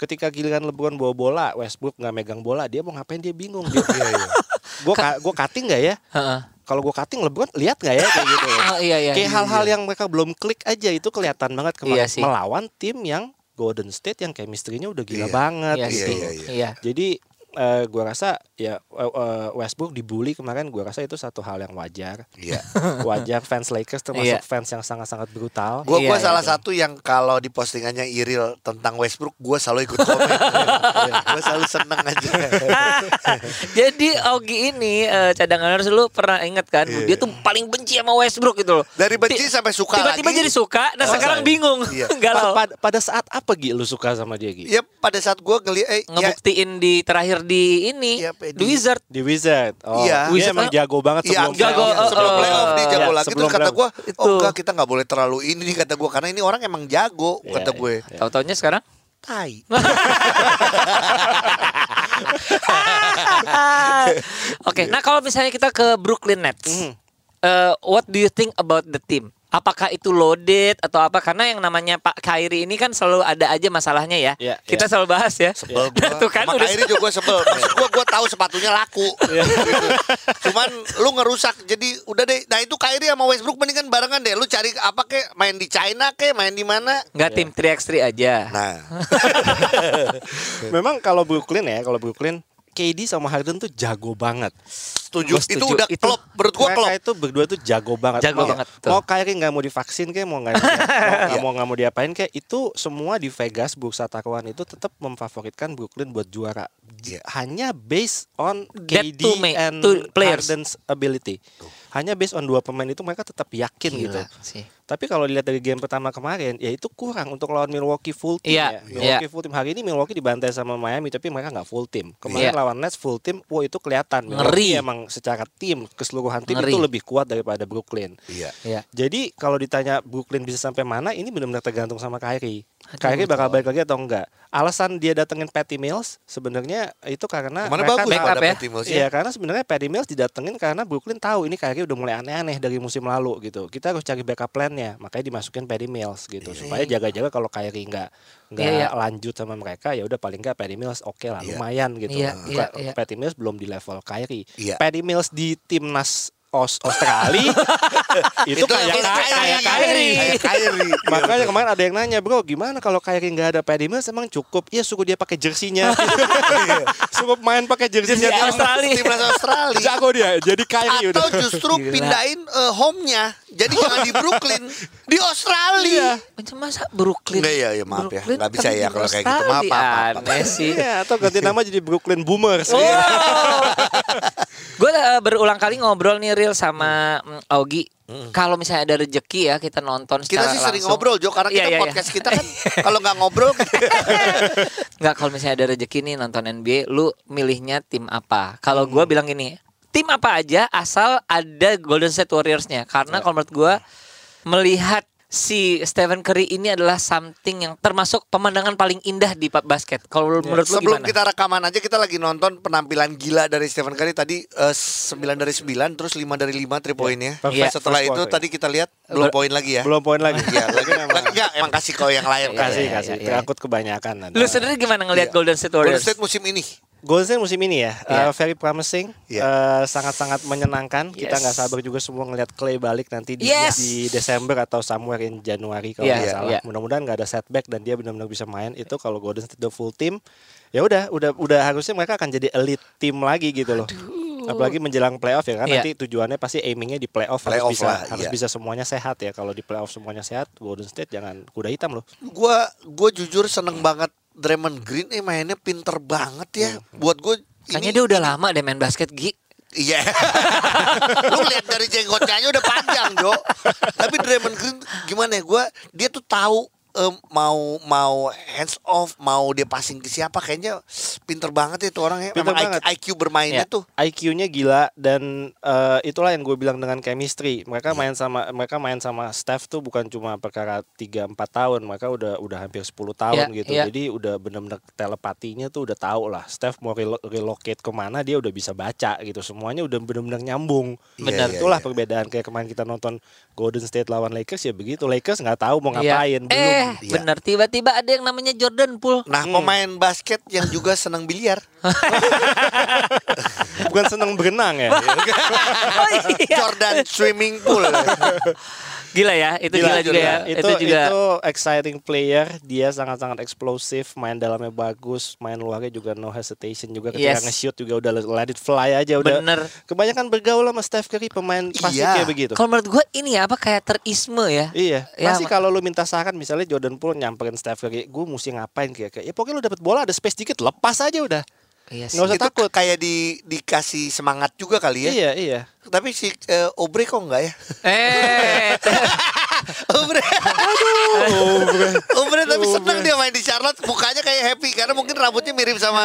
[SPEAKER 1] Ketika giliran LeBron bawa bola, Westbrook nggak megang bola, dia mau ngapain dia bingung. gitu. Dia,
[SPEAKER 2] Iya,
[SPEAKER 1] gue gue cutting nggak ya?
[SPEAKER 2] Heeh.
[SPEAKER 1] Kalau gue cutting LeBron lihat nggak ya kayak gitu.
[SPEAKER 2] Oh iya iya.
[SPEAKER 1] Kayak hal-hal yang mereka belum klik aja itu kelihatan banget kemarin
[SPEAKER 2] Iya sih.
[SPEAKER 1] melawan tim yang Golden State yang chemistry-nya udah gila
[SPEAKER 3] Iya.
[SPEAKER 1] banget
[SPEAKER 2] iya,
[SPEAKER 1] gitu.
[SPEAKER 2] sih.
[SPEAKER 3] iya,
[SPEAKER 2] Iya.
[SPEAKER 1] Jadi eh, gua rasa ya eh, eh, Westbrook dibully kemarin gua rasa itu satu hal yang wajar.
[SPEAKER 3] Iya.
[SPEAKER 1] Wajar fans Lakers termasuk
[SPEAKER 2] Iya.
[SPEAKER 1] fans yang sangat-sangat brutal.
[SPEAKER 3] Gue
[SPEAKER 2] Iya,
[SPEAKER 3] gua salah
[SPEAKER 2] iya.
[SPEAKER 3] satu yang kalau di postingannya Iril tentang Westbrook, gue selalu ikut komen. gue selalu seneng aja.
[SPEAKER 2] Jadi Ogi ini eh, cadangan harus lu pernah ingat kan?
[SPEAKER 3] Iya.
[SPEAKER 2] Dia tuh paling benci sama Westbrook gitu loh.
[SPEAKER 3] Dari benci
[SPEAKER 2] Ti-
[SPEAKER 3] sampai suka
[SPEAKER 2] Tiba-tiba
[SPEAKER 3] lagi.
[SPEAKER 2] jadi suka, nah
[SPEAKER 3] Oh,
[SPEAKER 2] sekarang
[SPEAKER 3] sorry.
[SPEAKER 2] bingung.
[SPEAKER 3] Iya.
[SPEAKER 1] Pa-
[SPEAKER 2] Galau.
[SPEAKER 1] pad- pada saat apa Gi lu suka sama dia Gi?
[SPEAKER 3] Ya pada saat gue ngeliat, eh, ya,
[SPEAKER 2] Ngebuktiin di terakhir di ini,
[SPEAKER 3] Iya, Pe,
[SPEAKER 2] The
[SPEAKER 3] di-
[SPEAKER 2] Wizard.
[SPEAKER 1] Di Wizard. Oh,
[SPEAKER 3] Iya.
[SPEAKER 1] dia emang jago banget
[SPEAKER 3] Iya,
[SPEAKER 1] sebelum
[SPEAKER 2] jago,
[SPEAKER 1] playoff.
[SPEAKER 2] eh,
[SPEAKER 3] sebelum
[SPEAKER 2] eh,
[SPEAKER 3] playoff dia jago
[SPEAKER 1] Iya,
[SPEAKER 3] lagi
[SPEAKER 1] sebelum
[SPEAKER 3] terus kata
[SPEAKER 1] playoff.
[SPEAKER 3] gue, oh
[SPEAKER 2] Itu.
[SPEAKER 3] enggak kita nggak boleh terlalu ini kata gue karena ini orang emang jago
[SPEAKER 1] Iya, iya,
[SPEAKER 3] kata
[SPEAKER 1] Nah,
[SPEAKER 3] gue.
[SPEAKER 1] iya.
[SPEAKER 2] Tahu-taunya sekarang?
[SPEAKER 3] Tai.
[SPEAKER 2] Oke, nah kalau misalnya kita ke Brooklyn Nets,
[SPEAKER 3] Mhm.
[SPEAKER 2] eh, what do you think about the team? Apakah itu loaded atau apa? Karena yang namanya Pak Kyrie ini kan selalu ada aja masalahnya ya.
[SPEAKER 1] Iya,
[SPEAKER 2] kita
[SPEAKER 1] iya.
[SPEAKER 2] selalu bahas ya.
[SPEAKER 3] Sebel
[SPEAKER 2] Nah,
[SPEAKER 3] gua.
[SPEAKER 2] tuh kan
[SPEAKER 3] Sama
[SPEAKER 2] udah
[SPEAKER 3] Kyrie juga gue sebel. Maksud gue gue tahu sepatunya laku.
[SPEAKER 1] Iya.
[SPEAKER 3] Gitu. Cuman lu ngerusak. Jadi udah deh. Nah itu Kyrie sama Westbrook mendingan barengan deh. Lu cari apa kek? Main di China kek? Main di mana?
[SPEAKER 2] nggak tim 3x3 aja.
[SPEAKER 3] iya. Nah,
[SPEAKER 1] Memang kalau Brooklyn ya, kalau Brooklyn KD sama Harden tuh jago banget.
[SPEAKER 3] setuju.
[SPEAKER 2] Gua setuju.
[SPEAKER 3] Itu udah
[SPEAKER 2] Itu-
[SPEAKER 3] klop. Menurut gue
[SPEAKER 1] Mereka
[SPEAKER 3] klop.
[SPEAKER 1] itu berdua tuh jago banget.
[SPEAKER 2] Jago
[SPEAKER 1] mau,
[SPEAKER 2] banget, tuh.
[SPEAKER 1] Mau Kyrie nggak mau divaksin kayak mau nggak mau, nggak mau nggak mau diapain kayak itu semua di Vegas bursa taruhan itu tetap memfavoritkan Brooklyn buat juara. J-
[SPEAKER 3] Iya.
[SPEAKER 1] Hanya based on
[SPEAKER 2] That
[SPEAKER 1] KD
[SPEAKER 2] two ma-
[SPEAKER 1] and
[SPEAKER 2] two players.
[SPEAKER 1] Harden's ability. Hanya based on dua pemain itu mereka tetap yakin gitu.
[SPEAKER 2] Gila sih.
[SPEAKER 1] Tapi kalau dilihat dari game pertama kemarin, ya itu kurang untuk lawan Milwaukee full team
[SPEAKER 2] Iya,
[SPEAKER 1] ya.
[SPEAKER 2] iya.
[SPEAKER 1] Milwaukee full team hari ini Milwaukee dibantai sama Miami, tapi mereka nggak full team. Kemarin
[SPEAKER 2] Iya.
[SPEAKER 1] lawan Nets full team, wah itu kelihatan.
[SPEAKER 2] Ngeri.
[SPEAKER 1] Milwaukee emang secara tim keseluruhan tim
[SPEAKER 2] Ngeri.
[SPEAKER 1] itu lebih kuat daripada Brooklyn.
[SPEAKER 3] Iya.
[SPEAKER 2] Iya.
[SPEAKER 1] Jadi kalau ditanya Brooklyn bisa sampai mana, ini benar-benar tergantung sama Kyrie. Kyrie bakal balik lagi atau enggak? Alasan dia datengin Patty Mills sebenarnya itu karena
[SPEAKER 3] Kemarin
[SPEAKER 1] mereka
[SPEAKER 3] bagus
[SPEAKER 1] tahu-
[SPEAKER 2] up
[SPEAKER 3] pada
[SPEAKER 2] ya.
[SPEAKER 3] Patty Mills ya.
[SPEAKER 1] Iya karena sebenarnya Patty Mills didatengin karena Brooklyn tahu ini Kyrie udah mulai aneh-aneh dari musim lalu gitu. Kita harus cari backup plan-nya, makanya dimasukin Patty Mills gitu
[SPEAKER 3] Iya.
[SPEAKER 1] supaya jaga-jaga kalau Kyrie nggak nggak
[SPEAKER 2] Iya, iya.
[SPEAKER 1] lanjut sama mereka ya udah paling nggak Patty Mills oke lah
[SPEAKER 3] Iya.
[SPEAKER 1] lumayan gitu.
[SPEAKER 2] Iya,
[SPEAKER 1] Bukan-
[SPEAKER 2] iya, iya.
[SPEAKER 1] Patty Mills belum di level Kyrie.
[SPEAKER 3] Iya.
[SPEAKER 1] Patty Mills di timnas Aus- Australia itu,
[SPEAKER 3] Itu
[SPEAKER 1] kayak
[SPEAKER 3] emang
[SPEAKER 1] kayak
[SPEAKER 3] Kyrie. Iya,
[SPEAKER 1] kayak Kyrie.
[SPEAKER 3] Kayak Kyrie.
[SPEAKER 1] Makanya kemarin ada yang nanya bro gimana kalau Kyrie nggak ada Patty Mills emang cukup ya suruh dia pakai jersinya
[SPEAKER 3] Iya.
[SPEAKER 1] suruh main pakai jersinya
[SPEAKER 2] Jersey
[SPEAKER 1] timnas.
[SPEAKER 2] Australia.
[SPEAKER 3] Timnas Australia.
[SPEAKER 1] Jago dia, jadi Kyrie
[SPEAKER 3] Atau
[SPEAKER 1] udah.
[SPEAKER 3] justru
[SPEAKER 2] Gila.
[SPEAKER 3] pindahin eh, home-nya. Jadi jangan di Brooklyn, di Australia.
[SPEAKER 1] Iya.
[SPEAKER 2] Macam Eh, masa Brooklyn?
[SPEAKER 3] Nggak, iya, iya, maaf ya.
[SPEAKER 2] Brooklyn
[SPEAKER 3] Nggak bisa
[SPEAKER 2] tapi
[SPEAKER 3] ya
[SPEAKER 2] di
[SPEAKER 3] kalau kayak gitu. Maaf,
[SPEAKER 2] Australia.
[SPEAKER 3] maaf, maaf.
[SPEAKER 2] Aneh sih. Iya.
[SPEAKER 1] Iya, atau ganti nama jadi Brooklyn Boomers.
[SPEAKER 3] Iya.
[SPEAKER 2] Gue eh, berulang kali ngobrol nih real sama mm, Augie. Kalau misalnya ada rejeki ya kita nonton
[SPEAKER 3] Kita
[SPEAKER 2] secara
[SPEAKER 3] sih sering
[SPEAKER 2] langsung.
[SPEAKER 3] ngobrol Jo karena
[SPEAKER 2] Iya,
[SPEAKER 3] kita
[SPEAKER 2] iya, iya.
[SPEAKER 3] podcast kita kan kalau nggak ngobrol
[SPEAKER 2] Nggak kalau misalnya ada rejeki nih nonton NBA, lu milihnya tim apa? Kalau
[SPEAKER 3] Hmm.
[SPEAKER 2] gua bilang gini, tim apa aja asal ada Golden State Warriors-nya.
[SPEAKER 3] Iya.
[SPEAKER 2] Karena kalau menurut gua melihat si Stephen Curry ini adalah something yang termasuk pemandangan paling indah di pa- basket. Kalau lu- menurut lu
[SPEAKER 3] Iya. sebelum
[SPEAKER 2] gimana?
[SPEAKER 3] kita rekaman aja kita lagi nonton penampilan gila dari Stephen Curry tadi eh, 9 dari 9 terus 5 dari 5 three point-nya.
[SPEAKER 1] Perfect
[SPEAKER 2] Iya.
[SPEAKER 3] Setelah
[SPEAKER 1] first
[SPEAKER 3] itu
[SPEAKER 1] quarter.
[SPEAKER 3] tadi kita lihat belum
[SPEAKER 2] Ber-
[SPEAKER 3] poin lagi ya.
[SPEAKER 1] belum poin lagi.
[SPEAKER 3] Iya, lagi memang enggak emang kasih kau yang lain
[SPEAKER 2] Iya,
[SPEAKER 1] kasih
[SPEAKER 2] iya,
[SPEAKER 1] kasih,
[SPEAKER 2] iya, iya.
[SPEAKER 1] terangkut kebanyakan.
[SPEAKER 2] Lu sendiri gimana ngelihat Golden State
[SPEAKER 3] Iya. Golden
[SPEAKER 2] Warriors?
[SPEAKER 3] State musim ini.
[SPEAKER 1] Golden State musim ini ya,
[SPEAKER 2] Iya.
[SPEAKER 1] uh, very promising,
[SPEAKER 3] Iya.
[SPEAKER 1] uh, sangat-sangat menyenangkan. Kita
[SPEAKER 2] Yes.
[SPEAKER 1] nggak sabar juga semua ngelihat Clay balik nanti di,
[SPEAKER 2] Yes.
[SPEAKER 1] di Desember atau somewhere in Januari kalau
[SPEAKER 2] Iya,
[SPEAKER 1] nggak salah.
[SPEAKER 2] iya.
[SPEAKER 1] Mudah-mudahan nggak ada setback dan dia benar-benar bisa main. Itu kalau Golden State the full team, ya udah, udah, udah harusnya mereka akan jadi elite team lagi gitu loh. Apalagi menjelang playoff ya kan
[SPEAKER 2] Iya.
[SPEAKER 1] nanti tujuannya pasti aimingnya di playoff,
[SPEAKER 3] Playoff
[SPEAKER 1] harus bisa
[SPEAKER 3] lah,
[SPEAKER 1] harus
[SPEAKER 3] iya.
[SPEAKER 1] bisa semuanya sehat ya. Kalau di playoff semuanya sehat, Golden State jangan kuda hitam loh.
[SPEAKER 3] Gua gua jujur seneng banget Draymond Green eh mainnya pinter banget ya. Buat gue
[SPEAKER 2] Kayaknya dia udah lama deh main basket, Gi.
[SPEAKER 3] Iya. Lu lihat dari jenggotnya aja udah panjang, Jo. Tapi Draymond Green gimana ya gua dia tuh tahu eh, mau mau hands off, mau dia passing ke siapa kayaknya pinter banget ya itu orangnya.
[SPEAKER 1] Pinter
[SPEAKER 3] Memang
[SPEAKER 1] banget. Ya.
[SPEAKER 3] IQ, bermainnya
[SPEAKER 2] Iya.
[SPEAKER 3] tuh.
[SPEAKER 1] IQ-nya gila dan eh, itulah yang gue bilang dengan chemistry. Mereka
[SPEAKER 2] Iya.
[SPEAKER 1] main sama mereka main sama staff tuh bukan cuma perkara 3 4 tahun, mereka udah udah hampir 10 tahun
[SPEAKER 2] Iya,
[SPEAKER 1] gitu.
[SPEAKER 2] iya.
[SPEAKER 1] Jadi udah benar-benar telepatinya tuh udah tahu lah. Staff mau relo- relocate kemana dia udah bisa baca gitu. Semuanya udah benar-benar nyambung.
[SPEAKER 3] Iya,
[SPEAKER 1] Benar
[SPEAKER 3] iya,
[SPEAKER 1] itulah
[SPEAKER 3] iya.
[SPEAKER 1] perbedaan kayak kemarin kita nonton Golden State lawan Lakers ya begitu. Lakers nggak tahu mau
[SPEAKER 2] Iya.
[SPEAKER 1] ngapain belum.
[SPEAKER 2] Eh,
[SPEAKER 3] Iya.
[SPEAKER 2] bener tiba-tiba ada yang namanya Jordan Poole.
[SPEAKER 3] Nah, pemain basket yang juga senang biliar.
[SPEAKER 1] Bukan senang berenang ya.
[SPEAKER 2] Oh, iya.
[SPEAKER 3] Jordan swimming pool.
[SPEAKER 2] Gila ya, itu
[SPEAKER 1] Gila,
[SPEAKER 2] gila, juga ya.
[SPEAKER 1] Itu,
[SPEAKER 2] Itu, juga.
[SPEAKER 1] itu exciting player. Dia sangat-sangat eksplosif. Main dalamnya bagus. Main luarnya juga no hesitation juga. Ketika
[SPEAKER 2] Yes.
[SPEAKER 1] nge-shoot juga udah let it fly aja. Udah.
[SPEAKER 2] Bener.
[SPEAKER 1] Kebanyakan bergaul sama Steph Curry pemain pasti
[SPEAKER 3] Iya.
[SPEAKER 1] kayak begitu.
[SPEAKER 2] Kalau menurut gue ini ya apa kayak terisme ya.
[SPEAKER 1] Iya,
[SPEAKER 2] Ya,
[SPEAKER 1] pasti
[SPEAKER 2] mak-
[SPEAKER 1] kalau lu minta saran misalnya Jordan Poole nyamperin Steph Curry, gue mesti ngapain kayak ya pokoknya lu dapat bola ada space dikit, lepas aja udah.
[SPEAKER 2] Iya sih.
[SPEAKER 1] Nggak usah
[SPEAKER 3] Itu
[SPEAKER 1] takut.
[SPEAKER 3] kayak di dikasih semangat juga kali ya.
[SPEAKER 1] Iya, iya.
[SPEAKER 3] Tapi si eh, Aubrey kok enggak ya?
[SPEAKER 2] Eh,
[SPEAKER 1] Oh,
[SPEAKER 3] Aubrey. Aduh. Aubrey tapi senang dia main di Charlotte, mukanya kayak happy karena mungkin rambutnya mirip sama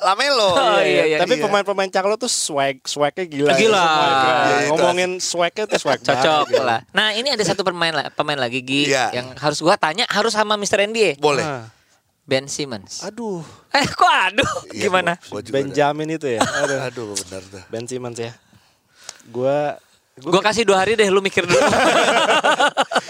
[SPEAKER 3] Lamelo.
[SPEAKER 2] Oh, iya, iya,
[SPEAKER 1] Tapi
[SPEAKER 3] iya.
[SPEAKER 1] pemain-pemain Charlotte tuh swag, swagnya gila. ya,
[SPEAKER 2] Gila.
[SPEAKER 1] semua keren.
[SPEAKER 3] Iya, itu
[SPEAKER 1] Ngomongin swagnya tuh swag banget
[SPEAKER 2] cocok
[SPEAKER 1] gitu.
[SPEAKER 2] lah. Nah ini ada satu pemain la- pemain lagi Gi
[SPEAKER 3] Iya.
[SPEAKER 2] yang harus gua tanya harus sama Mr. Andy ya?
[SPEAKER 3] Boleh.
[SPEAKER 1] Ah,
[SPEAKER 2] Ben Simmons.
[SPEAKER 1] aduh,
[SPEAKER 2] Eh kok aduh
[SPEAKER 3] Iya,
[SPEAKER 2] gimana?
[SPEAKER 3] gua- gua juga ada.
[SPEAKER 1] Benjamin itu ya. Aduh.
[SPEAKER 3] Aduh, benar tuh.
[SPEAKER 1] Ben Simmons ya. Gua
[SPEAKER 2] Gua kasih dua hari deh lu mikir dulu.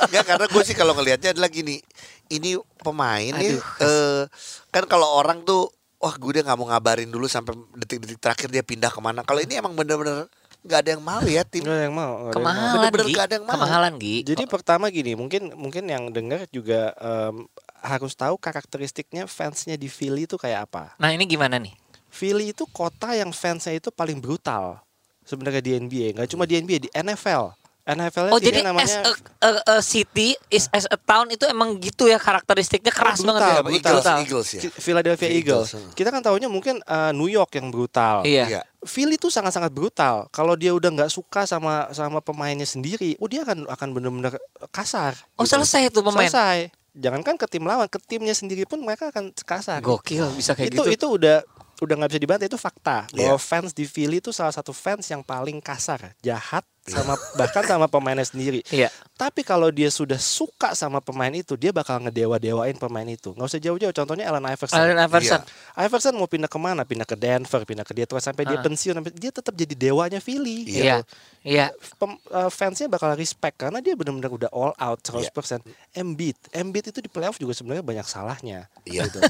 [SPEAKER 3] Enggak karena gue sih kalau ngelihatnya adalah gini Ini pemain ya
[SPEAKER 2] Aduh.
[SPEAKER 3] eh, Kan kalau orang tuh Wah gue udah gak mau ngabarin dulu sampai detik-detik terakhir dia pindah kemana Kalau ini emang bener-bener nggak ada yang mau ya tim
[SPEAKER 1] nggak ada yang mau. nggak ada yang mau.
[SPEAKER 2] Kemahalan
[SPEAKER 3] Bener-bener
[SPEAKER 2] Gi.
[SPEAKER 3] gak ada yang mau.
[SPEAKER 2] Kemahalan Gi.
[SPEAKER 1] Jadi pertama gini, mungkin mungkin yang dengar juga em, harus tahu karakteristiknya fansnya di Philly itu kayak apa.
[SPEAKER 2] Nah ini gimana nih?
[SPEAKER 1] Philly itu kota yang fansnya itu paling brutal sebenarnya di NBA. Nggak cuma di NBA, di NFL. NFL-nya
[SPEAKER 2] Oh
[SPEAKER 1] timnya
[SPEAKER 2] jadi as
[SPEAKER 1] namanya
[SPEAKER 2] a, a- a city is as a town itu emang gitu ya karakteristiknya keras
[SPEAKER 1] Brutal,
[SPEAKER 2] banget ya.
[SPEAKER 1] brutal.
[SPEAKER 3] Eagles, Eagles
[SPEAKER 2] Iya.
[SPEAKER 3] ya
[SPEAKER 1] Philadelphia
[SPEAKER 3] The
[SPEAKER 1] Eagles.
[SPEAKER 3] Eagles, hmm.
[SPEAKER 1] Kita kan tahunya mungkin eh, New York yang brutal.
[SPEAKER 2] Iya.
[SPEAKER 3] Iya.
[SPEAKER 1] Philly itu sangat-sangat brutal. Kalau dia udah nggak suka sama sama pemainnya sendiri, oh dia akan akan benar-benar kasar.
[SPEAKER 2] Oh
[SPEAKER 1] gitu.
[SPEAKER 2] selesai tuh pemain.
[SPEAKER 1] Selesai. Jangankan ke tim lawan, ke timnya sendiri pun mereka akan kasar.
[SPEAKER 2] Gokil bisa kayak
[SPEAKER 1] itu
[SPEAKER 2] gitu.
[SPEAKER 1] itu udah udah nggak bisa dibantah itu fakta
[SPEAKER 3] Iya.
[SPEAKER 1] bahwa fans di Philly itu salah satu fans yang paling kasar, jahat sama bahkan sama pemainnya sendiri.
[SPEAKER 2] Iya.
[SPEAKER 1] Tapi kalau dia sudah suka sama pemain itu, dia bakal ngedewa-dewain pemain itu. Nggak usah jauh-jauh. Contohnya Allen Iverson.
[SPEAKER 2] Allen Iverson.
[SPEAKER 1] Iverson mau pindah kemana? Pindah ke Denver, pindah ke Detroit sampai dia
[SPEAKER 2] Ah.
[SPEAKER 1] pensiun, sampai dia tetap jadi dewanya Philly. gitu.
[SPEAKER 2] Iya. Iya.
[SPEAKER 1] Pem- eh, fansnya bakal respect karena dia benar-benar udah all
[SPEAKER 2] Iya.
[SPEAKER 1] out 100%. Embiid, Embiid itu di playoff juga sebenarnya banyak salahnya. gitu.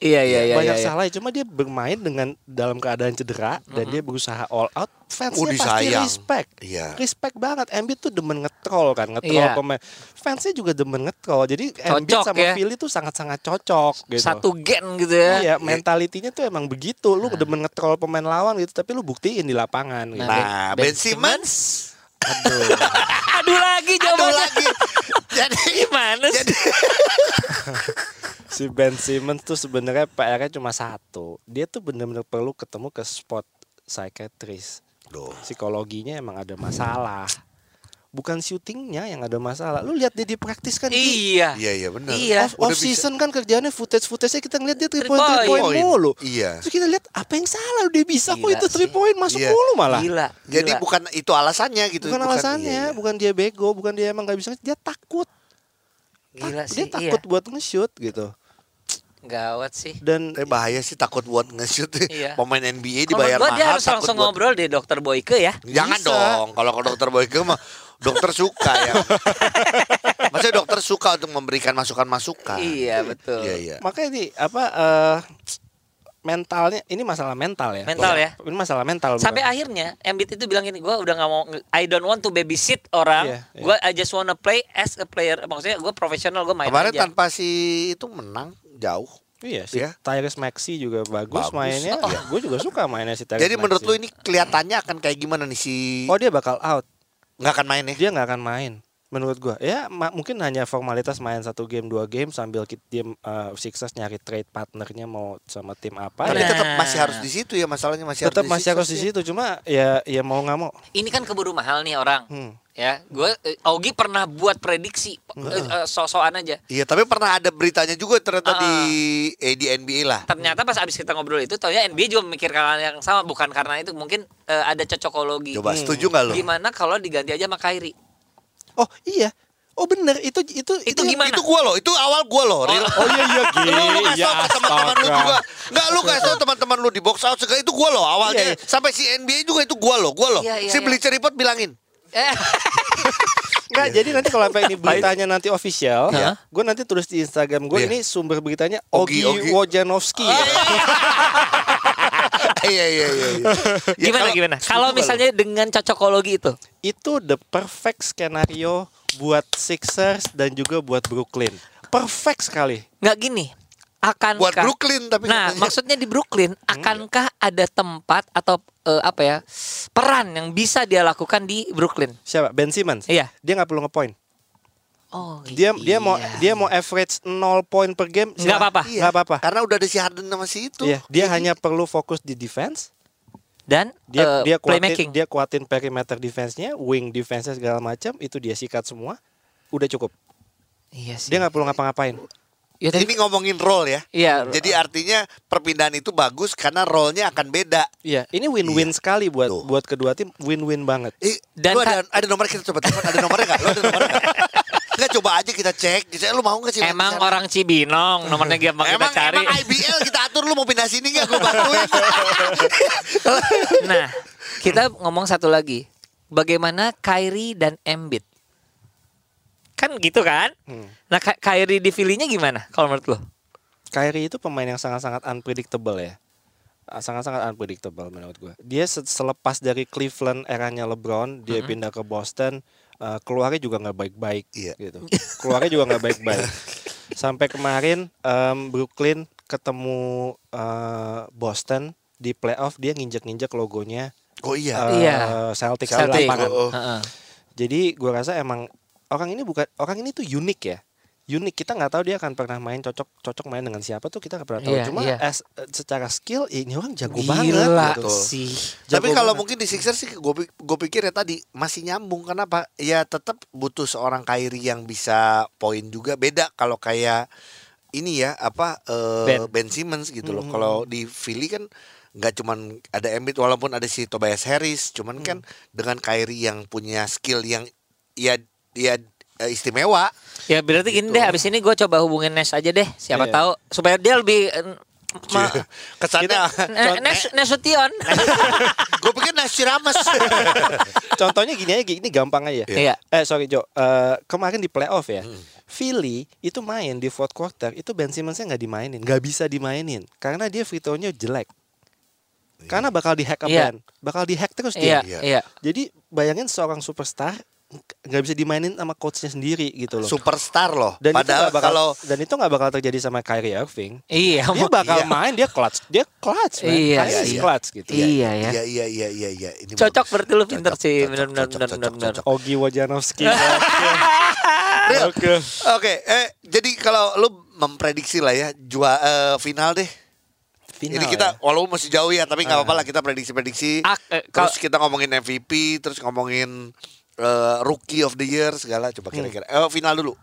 [SPEAKER 3] Iya.
[SPEAKER 2] Iya iya iya.
[SPEAKER 1] banyak
[SPEAKER 2] iya.
[SPEAKER 1] salahnya, cuma dia bermain dengan dalam keadaan cedera dan dia berusaha all out. Fansnya
[SPEAKER 3] Oh,
[SPEAKER 1] pasti
[SPEAKER 3] disayang.
[SPEAKER 1] respect.
[SPEAKER 3] Iya.
[SPEAKER 1] Respect banget. Embiid tuh demen ngetrol kan, ngetrol
[SPEAKER 2] Iya.
[SPEAKER 1] pemain. Fansnya juga demen ngetrol. Jadi Embiid
[SPEAKER 2] Cocok
[SPEAKER 1] sama
[SPEAKER 2] ya.
[SPEAKER 1] Philly tuh sangat-sangat cocok gitu.
[SPEAKER 2] Satu gen gitu ya.
[SPEAKER 1] Iya, mentalitinya tuh emang begitu. Lu demen ngetrol pemain lawan gitu, tapi lu buktiin di lapangan gitu.
[SPEAKER 2] Nah,
[SPEAKER 3] Nah
[SPEAKER 2] Ben
[SPEAKER 3] Ben Simmons
[SPEAKER 2] Aduh lagi
[SPEAKER 3] Aduh
[SPEAKER 2] jawabannya.
[SPEAKER 3] lagi Jadi
[SPEAKER 2] Gimana sih?
[SPEAKER 1] si Ben Simmons tuh sebenarnya PR-nya cuma satu. Dia tuh bener-bener perlu ketemu ke spot psychiatrist.
[SPEAKER 3] Loh.
[SPEAKER 1] Psikologinya emang ada masalah. Bukan syutingnya yang ada masalah. Lu lihat dia di praktis kan. Di
[SPEAKER 2] Iya.
[SPEAKER 3] Iya iya benar
[SPEAKER 2] Iya.
[SPEAKER 1] Off, off season kan kerjaannya footage-footage-nya kita ngeliat dia 3 point,
[SPEAKER 2] Three
[SPEAKER 1] 3 point
[SPEAKER 3] point.
[SPEAKER 1] mulu.
[SPEAKER 3] Iya.
[SPEAKER 1] Terus kita lihat apa yang salah dia bisa kok
[SPEAKER 2] Gila
[SPEAKER 1] itu 3
[SPEAKER 2] sih.
[SPEAKER 1] point masuk
[SPEAKER 3] Iya.
[SPEAKER 1] mulu malah.
[SPEAKER 2] Gila.
[SPEAKER 3] Jadi
[SPEAKER 2] gila.
[SPEAKER 3] bukan itu alasannya gitu
[SPEAKER 1] Bukan alasannya,
[SPEAKER 3] iya, iya.
[SPEAKER 1] bukan dia bego, bukan dia emang gak bisa, dia takut.
[SPEAKER 2] Gila
[SPEAKER 1] Tak- dia
[SPEAKER 2] sih.
[SPEAKER 1] takut buat nge-shoot gitu.
[SPEAKER 2] Iya. Gawat sih.
[SPEAKER 1] Dan
[SPEAKER 3] iya. Tapi bahaya sih takut buat nge-shoot
[SPEAKER 2] Iya.
[SPEAKER 3] Pemain NBA
[SPEAKER 2] Kalau
[SPEAKER 3] dibayar
[SPEAKER 2] menurut gua
[SPEAKER 3] mahal
[SPEAKER 2] dia harus
[SPEAKER 3] takut
[SPEAKER 2] langsung
[SPEAKER 3] buat-
[SPEAKER 2] ngobrol deh dokter Boyke ya.
[SPEAKER 3] Jangan
[SPEAKER 1] Bisa.
[SPEAKER 3] dong, kalau ke dokter Boyke mah dokter suka ya. Maksudnya dokter suka untuk memberikan masukan-masukan.
[SPEAKER 2] Iya betul.
[SPEAKER 3] Iya, iya.
[SPEAKER 1] Makanya nih apa eh mentalnya ini masalah mental ya.
[SPEAKER 2] Mental
[SPEAKER 1] Bukan-
[SPEAKER 2] ya.
[SPEAKER 1] Ini masalah mental. bukan?
[SPEAKER 2] Sampai akhirnya Embiid itu bilang gini, gua udah nggak mau, I don't want to babysit orang.
[SPEAKER 1] Iya, iya.
[SPEAKER 2] Gua I just wanna play as a player. Maksudnya gua profesional, gua main
[SPEAKER 3] Kemarin
[SPEAKER 2] aja.
[SPEAKER 3] tanpa si itu menang jauh.
[SPEAKER 1] Iya si
[SPEAKER 3] Iya.
[SPEAKER 1] Tyrese Maxey juga bagus,
[SPEAKER 3] Bagus.
[SPEAKER 1] mainnya.
[SPEAKER 3] Iya.
[SPEAKER 1] Gue juga suka mainnya si Tyrese
[SPEAKER 3] Jadi menurut lu
[SPEAKER 1] Maxey.
[SPEAKER 3] ini kelihatannya akan kayak gimana nih si
[SPEAKER 1] Oh dia bakal out.
[SPEAKER 3] nggak akan main ya?
[SPEAKER 1] Dia nggak akan main. Menurut gua ya ma- mungkin hanya formalitas main satu game dua game sambil kit- tim eh, Sixers nyari trade partnernya mau sama tim apa.
[SPEAKER 3] Tapi
[SPEAKER 1] ya.
[SPEAKER 2] Nah.
[SPEAKER 3] tetap masih harus di situ ya masalahnya masih
[SPEAKER 1] Tetap
[SPEAKER 3] harus
[SPEAKER 1] masih harus di situ cuma ya ya mau nggak mau.
[SPEAKER 2] Ini kan keburu mahal nih orang.
[SPEAKER 1] Hmm.
[SPEAKER 2] Ya, gua eh, Augie pernah buat prediksi eh, eh, so-soan aja.
[SPEAKER 3] Iya, tapi pernah ada beritanya juga
[SPEAKER 2] Ah.
[SPEAKER 3] ternyata di eh, di NBA lah.
[SPEAKER 2] Ternyata pas abis kita ngobrol itu, taunya NBA juga memikirkan hal yang sama. Bukan karena itu, mungkin eh, ada cocokologi.
[SPEAKER 3] Coba setuju nggak lu?
[SPEAKER 2] Gimana kalau diganti aja sama Kyrie?
[SPEAKER 1] Oh iya. Oh bener itu itu
[SPEAKER 2] Itu gimana?
[SPEAKER 3] Itu gua loh, itu awal gua loh, Ril.
[SPEAKER 1] Oh iya iya gini.
[SPEAKER 3] Lu, lu kasih tau ke teman-teman lu juga Enggak lu kasih tau teman-teman lu di box out segala itu gua loh
[SPEAKER 1] Iya,
[SPEAKER 3] awalnya
[SPEAKER 1] iya.
[SPEAKER 3] Sampai si NBA juga itu gua loh gua loh
[SPEAKER 2] Iya, iya,
[SPEAKER 3] Si
[SPEAKER 2] iya.
[SPEAKER 3] Bleacher Report bilangin
[SPEAKER 2] Eh,
[SPEAKER 1] Enggak, jadi nanti kalau sampai ini beritanya nanti official,
[SPEAKER 2] Iya. Hah?
[SPEAKER 1] gue nanti tulis di Instagram gue
[SPEAKER 3] Iya.
[SPEAKER 1] ini sumber beritanya
[SPEAKER 2] Ah.
[SPEAKER 3] Ogi,
[SPEAKER 1] Ogi,
[SPEAKER 3] Ogi.
[SPEAKER 1] Wojanowski.
[SPEAKER 3] Iya iya iya. iya. Ya,
[SPEAKER 2] gimana
[SPEAKER 3] kalau-
[SPEAKER 2] gimana? Kalau misalnya dengan cocokologi itu,
[SPEAKER 1] Itu the perfect skenario buat Sixers dan juga buat Brooklyn. Perfect sekali.
[SPEAKER 2] nggak gini. Akankah
[SPEAKER 3] buat Brooklyn tapi
[SPEAKER 2] Nah,
[SPEAKER 3] katanya. Hmm.
[SPEAKER 2] maksudnya di Brooklyn, akankah ada tempat atau eh, apa ya peran yang bisa dia lakukan di Brooklyn?
[SPEAKER 1] Siapa? Ben Simmons.
[SPEAKER 2] Iya.
[SPEAKER 1] Dia nggak perlu ngepoint.
[SPEAKER 2] Oh,
[SPEAKER 1] Dia dia mau
[SPEAKER 2] iya.
[SPEAKER 1] dia mau average 0 point per game.
[SPEAKER 2] Nggak
[SPEAKER 1] silakan.
[SPEAKER 2] apa-apa.
[SPEAKER 1] Nggak apa-apa.
[SPEAKER 3] Iya, Karena udah ada si Harden sama si itu.
[SPEAKER 1] Iya, dia hanya perlu fokus di defense.
[SPEAKER 2] dan
[SPEAKER 1] Dia
[SPEAKER 2] eh,
[SPEAKER 1] dia kuatin
[SPEAKER 2] playmaking.
[SPEAKER 1] dia kuatin perimeter defense-nya, wing defense-nya segala macam itu dia sikat semua. Udah cukup.
[SPEAKER 2] Iya sih.
[SPEAKER 1] Dia nggak perlu ngapa-ngapain.
[SPEAKER 2] Ya, tapi-
[SPEAKER 3] Ini ngomongin role ya.
[SPEAKER 2] Iya.
[SPEAKER 3] Jadi artinya perpindahan itu bagus karena role-nya akan beda.
[SPEAKER 1] Iya, ini win-win sekali buat
[SPEAKER 3] Tuh.
[SPEAKER 1] buat kedua tim, win-win banget.
[SPEAKER 3] Eh,
[SPEAKER 2] Dan
[SPEAKER 3] lu ada,
[SPEAKER 2] ka-
[SPEAKER 3] ada nomor kita coba telepon, ada nomornya nggak? Lu ada nomornya nggak? Nggak coba aja kita cek. Saya lu mau nggak sih?
[SPEAKER 2] Emang
[SPEAKER 3] Kita-
[SPEAKER 2] orang Cibinong nomornya gampang kita
[SPEAKER 3] Emang,
[SPEAKER 2] cari.
[SPEAKER 3] emang IBL kita atur lu mau pindah sini nggak? Gue bantuin.
[SPEAKER 2] Nah, kita ngomong satu lagi. Bagaimana Kyrie dan Embiid? Kan gitu kan?
[SPEAKER 3] Hmm.
[SPEAKER 2] Nah, Ka- Kyrie di Philly-nya gimana kalau menurut lo?
[SPEAKER 1] Kyrie itu pemain yang sangat-sangat unpredictable ya. Ah, Sangat-sangat unpredictable menurut gue. Dia se- selepas dari Cleveland eranya LeBron, dia pindah ke Boston, eh, keluarnya juga nggak baik-baik
[SPEAKER 3] Iya.
[SPEAKER 1] gitu. Keluarnya juga nggak baik-baik. Sampai kemarin em, Brooklyn ketemu eh, Boston di playoff dia nginjek-nginjek logonya
[SPEAKER 3] Oh iya.
[SPEAKER 1] eh,
[SPEAKER 2] Iya.
[SPEAKER 1] Celtics,
[SPEAKER 3] Celtic.
[SPEAKER 1] di lapangan.
[SPEAKER 3] Oh, oh.
[SPEAKER 2] Heeh.
[SPEAKER 1] Jadi gua rasa emang orang ini bukan orang ini tuh unik ya. Unik kita nggak tahu dia akan pernah main cocok cocok main dengan siapa tuh kita nggak pernah tahu.
[SPEAKER 2] Iya,
[SPEAKER 1] Cuma
[SPEAKER 2] iya.
[SPEAKER 1] as- eh, secara skill eh, ini orang jago banget.
[SPEAKER 2] Gila
[SPEAKER 1] gitu.
[SPEAKER 2] sih.
[SPEAKER 1] Jago
[SPEAKER 3] Tapi kalau
[SPEAKER 1] banget.
[SPEAKER 3] mungkin di Sixers sih gue pikir ya tadi masih nyambung kenapa? Ya tetap butuh seorang Kyrie yang bisa poin juga beda kalau kayak ini ya apa eh, ben. Simmons gitu loh. Kalau di Philly kan nggak cuman ada Embiid walaupun ada si Tobias Harris, cuman kan
[SPEAKER 1] Mm.
[SPEAKER 3] dengan Kyrie yang punya skill yang ya ya eh, istimewa.
[SPEAKER 2] Ya berarti gini deh, abis ini gue coba hubungin Nes aja deh.
[SPEAKER 1] Gitu.
[SPEAKER 2] Siapa
[SPEAKER 1] Iya.
[SPEAKER 2] tahu supaya dia lebih eh, ma-
[SPEAKER 3] Kesannya
[SPEAKER 2] Ne- Nes Nesution.
[SPEAKER 3] gue pikir Nasir Rames.
[SPEAKER 1] Contohnya gini aja gini gampang aja.
[SPEAKER 2] Iya.
[SPEAKER 1] Eh sorry Jo, Eh, kemarin di playoff ya. Philly itu main di fourth quarter itu Ben Simmonsnya nggak dimainin, nggak bisa dimainin karena dia free throw-nya jelek. Karena bakal dihack up
[SPEAKER 2] Iya.
[SPEAKER 1] Ben. bakal dihack terus dia.
[SPEAKER 2] Iya,
[SPEAKER 3] Iya.
[SPEAKER 2] iya.
[SPEAKER 1] Jadi bayangin seorang superstar nggak bisa dimainin sama coachnya sendiri gitu loh.
[SPEAKER 3] Superstar loh.
[SPEAKER 1] dan
[SPEAKER 3] Padahal
[SPEAKER 1] itu gak bakal,
[SPEAKER 3] kalau
[SPEAKER 1] dan itu nggak bakal terjadi sama Kyrie Irving.
[SPEAKER 2] Iya,
[SPEAKER 1] Dia
[SPEAKER 2] mau-
[SPEAKER 1] bakal
[SPEAKER 3] iya.
[SPEAKER 1] main dia clutch, dia clutch, man.
[SPEAKER 2] Iya
[SPEAKER 1] Kyrie
[SPEAKER 2] sih.
[SPEAKER 1] clutch gitu.
[SPEAKER 2] iya ya.
[SPEAKER 3] Iya iya iya iya iya. Ini
[SPEAKER 2] Cocok
[SPEAKER 3] bagus.
[SPEAKER 2] berarti lu pinter
[SPEAKER 3] Cocok,
[SPEAKER 2] sih,
[SPEAKER 3] cocok,
[SPEAKER 2] benar-benar
[SPEAKER 3] cocok,
[SPEAKER 2] benar-benar.
[SPEAKER 3] cocok,
[SPEAKER 2] benar.
[SPEAKER 3] cocok.
[SPEAKER 1] Ogi Wajanowski.
[SPEAKER 3] Real.
[SPEAKER 1] Oke.
[SPEAKER 3] Oke, eh jadi kalau lu memprediksi lah ya jua eh, final deh. Ini
[SPEAKER 2] ya.
[SPEAKER 3] kita walaupun masih jauh ya, tapi nggak apa-apa lah kita prediksi-prediksi.
[SPEAKER 2] Ah, eh,
[SPEAKER 3] terus
[SPEAKER 2] Ah. kalau-
[SPEAKER 3] kita ngomongin MVP, terus ngomongin eh, Rookie of the Year segala. Coba
[SPEAKER 2] Hmm.
[SPEAKER 3] kira-kira. Eh, final dulu.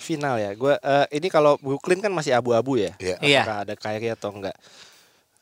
[SPEAKER 1] final ya. Gua eh, ini kalau Brooklyn kan masih abu-abu ya.
[SPEAKER 3] Iya.
[SPEAKER 2] Iya.
[SPEAKER 1] Apakah ada Kyrie atau enggak?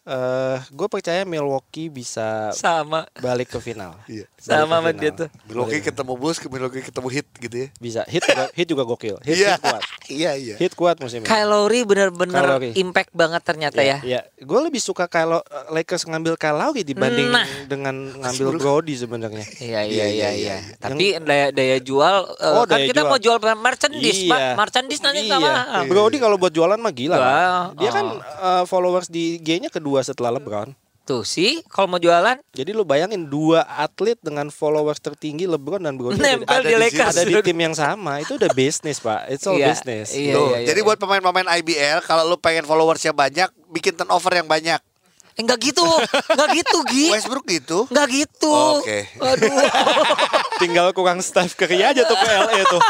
[SPEAKER 1] Eh, gue percaya Milwaukee bisa
[SPEAKER 2] Sama
[SPEAKER 1] balik ke final.
[SPEAKER 3] Iya.
[SPEAKER 1] Balik
[SPEAKER 2] Sama
[SPEAKER 1] ke
[SPEAKER 2] sama
[SPEAKER 1] final.
[SPEAKER 2] dia tuh.
[SPEAKER 3] Milwaukee ketemu Bulls, Milwaukee ketemu Hit gitu ya.
[SPEAKER 1] Bisa. Hit juga, hit juga gokil. Hit,
[SPEAKER 3] Iya.
[SPEAKER 1] hit kuat.
[SPEAKER 3] Iya iya.
[SPEAKER 1] Hit kuat musim ini.
[SPEAKER 2] Kyle Lowry
[SPEAKER 1] Kyle
[SPEAKER 2] bener-bener
[SPEAKER 1] Lowry.
[SPEAKER 2] impact banget ternyata ya.
[SPEAKER 1] Iya, gue lebih suka kalau eh, Lakers ngambil Kyle Lowry dibanding
[SPEAKER 2] Nah.
[SPEAKER 1] dengan ngambil Brody sebenarnya.
[SPEAKER 2] Iya iya
[SPEAKER 3] iya,
[SPEAKER 2] iya
[SPEAKER 3] iya.
[SPEAKER 2] iya. Tapi daya daya jual eh,
[SPEAKER 1] Oh,
[SPEAKER 2] kan
[SPEAKER 1] daya
[SPEAKER 2] kita
[SPEAKER 1] jual.
[SPEAKER 2] mau jual merchandise, Pak. Merchandise nanti Ah, enggak
[SPEAKER 1] Iya.
[SPEAKER 2] mahal.
[SPEAKER 1] Brody kalau buat jualan mah gila.
[SPEAKER 2] Wah,
[SPEAKER 1] Pak. Dia kan
[SPEAKER 2] oh.
[SPEAKER 1] eh, followers di IG-nya kedua setelah LeBron.
[SPEAKER 2] Tuh sih, kalau mau jualan
[SPEAKER 1] Jadi lu bayangin dua atlet dengan followers tertinggi LeBron dan Brody ada di-
[SPEAKER 2] nempel
[SPEAKER 3] ada
[SPEAKER 2] di
[SPEAKER 3] di
[SPEAKER 2] Lakers.
[SPEAKER 1] ada di tim yang sama. Itu udah bisnis, Pak. It's all
[SPEAKER 2] Iya,
[SPEAKER 1] business.
[SPEAKER 2] iya,
[SPEAKER 3] Tuh,
[SPEAKER 2] iya,
[SPEAKER 3] jadi
[SPEAKER 2] iya.
[SPEAKER 3] buat pemain-pemain IBL kalau lu pengen followersnya banyak, bikin turnover yang banyak.
[SPEAKER 2] Eh, enggak gitu. Enggak gitu, Gi.
[SPEAKER 3] Westbrook gitu.
[SPEAKER 2] Enggak gitu.
[SPEAKER 3] Oke.
[SPEAKER 2] Aduh.
[SPEAKER 1] Tinggal kurang Steph Curry aja tuh ke LA tuh.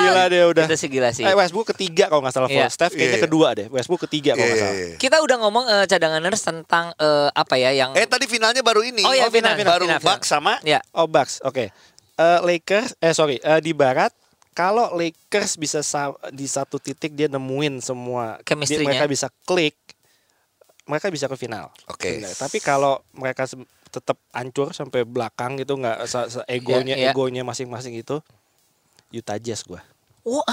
[SPEAKER 1] Gila deh udah.
[SPEAKER 2] Itu sih gila sih.
[SPEAKER 1] Eh Westbrook ketiga kalau nggak salah.
[SPEAKER 2] Iya.
[SPEAKER 1] Steph kayaknya
[SPEAKER 3] Iya, iya.
[SPEAKER 1] kedua deh. Westbrook ketiga kalau
[SPEAKER 3] Iya,
[SPEAKER 1] nggak
[SPEAKER 3] iya,
[SPEAKER 1] salah.
[SPEAKER 3] iya.
[SPEAKER 2] Kita udah ngomong eh, cadanganers tentang eh, apa ya yang
[SPEAKER 3] Eh tadi finalnya baru ini.
[SPEAKER 2] Oh, iya, final, final,
[SPEAKER 3] baru
[SPEAKER 2] final, final.
[SPEAKER 3] Bucks sama
[SPEAKER 2] ya.
[SPEAKER 1] Oh Bucks, oke. Eh, Lakers, eh sorry eh, di Barat kalau Lakers bisa sa- di satu titik dia nemuin semua, dia-
[SPEAKER 2] Chemistry-nya.
[SPEAKER 1] mereka bisa klik, mereka bisa ke final.
[SPEAKER 3] Oke.
[SPEAKER 1] Benar. Tapi kalau mereka se- tetap hancur sampai belakang gitu nggak se- se- egonya
[SPEAKER 2] Iya, iya.
[SPEAKER 1] egonya masing-masing itu Utah Jazz gua.
[SPEAKER 2] Wah,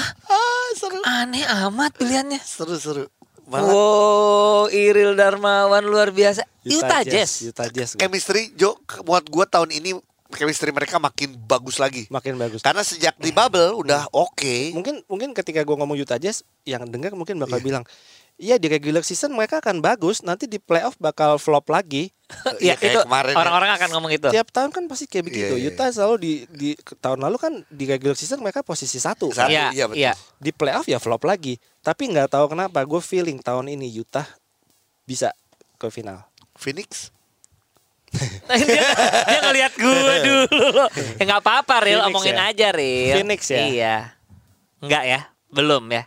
[SPEAKER 2] aneh amat pilihannya.
[SPEAKER 3] seru-seru. Malah
[SPEAKER 2] Wow, Iril Darmawan luar biasa. Utah Jazz.
[SPEAKER 1] Utah Jazz gua.
[SPEAKER 3] chemistry Jo ke- buat gua tahun ini chemistry mereka makin bagus lagi.
[SPEAKER 1] makin bagus.
[SPEAKER 3] Karena sejak di bubble udah oke.
[SPEAKER 1] mungkin mungkin ketika gue ngomong Utah Jazz yang dengar mungkin bakal bilang Iya di regular season mereka akan bagus, nanti di playoff bakal flop lagi.
[SPEAKER 2] ya,
[SPEAKER 3] kayak
[SPEAKER 2] itu
[SPEAKER 3] kemarin ya.
[SPEAKER 2] orang-orang akan ngomong itu.
[SPEAKER 1] Tiap tahun kan pasti kayak begitu.
[SPEAKER 3] Iya, iya,
[SPEAKER 1] Utah selalu di, di tahun lalu kan di regular season mereka posisi satu.
[SPEAKER 3] Satu.
[SPEAKER 2] Iya,
[SPEAKER 3] Iya, betul.
[SPEAKER 2] iya.
[SPEAKER 1] Di playoff ya flop lagi. Tapi nggak tahu kenapa gue feeling tahun ini Utah bisa ke final.
[SPEAKER 3] Phoenix
[SPEAKER 2] Nah, dia, dia ngeliat gue dulu. Ya nggak apa-apa, Ril.
[SPEAKER 1] Phoenix
[SPEAKER 2] Omongin
[SPEAKER 1] ya?
[SPEAKER 2] aja, Ril.
[SPEAKER 1] Phoenix ya?
[SPEAKER 2] Iya. Enggak ya? Belum ya?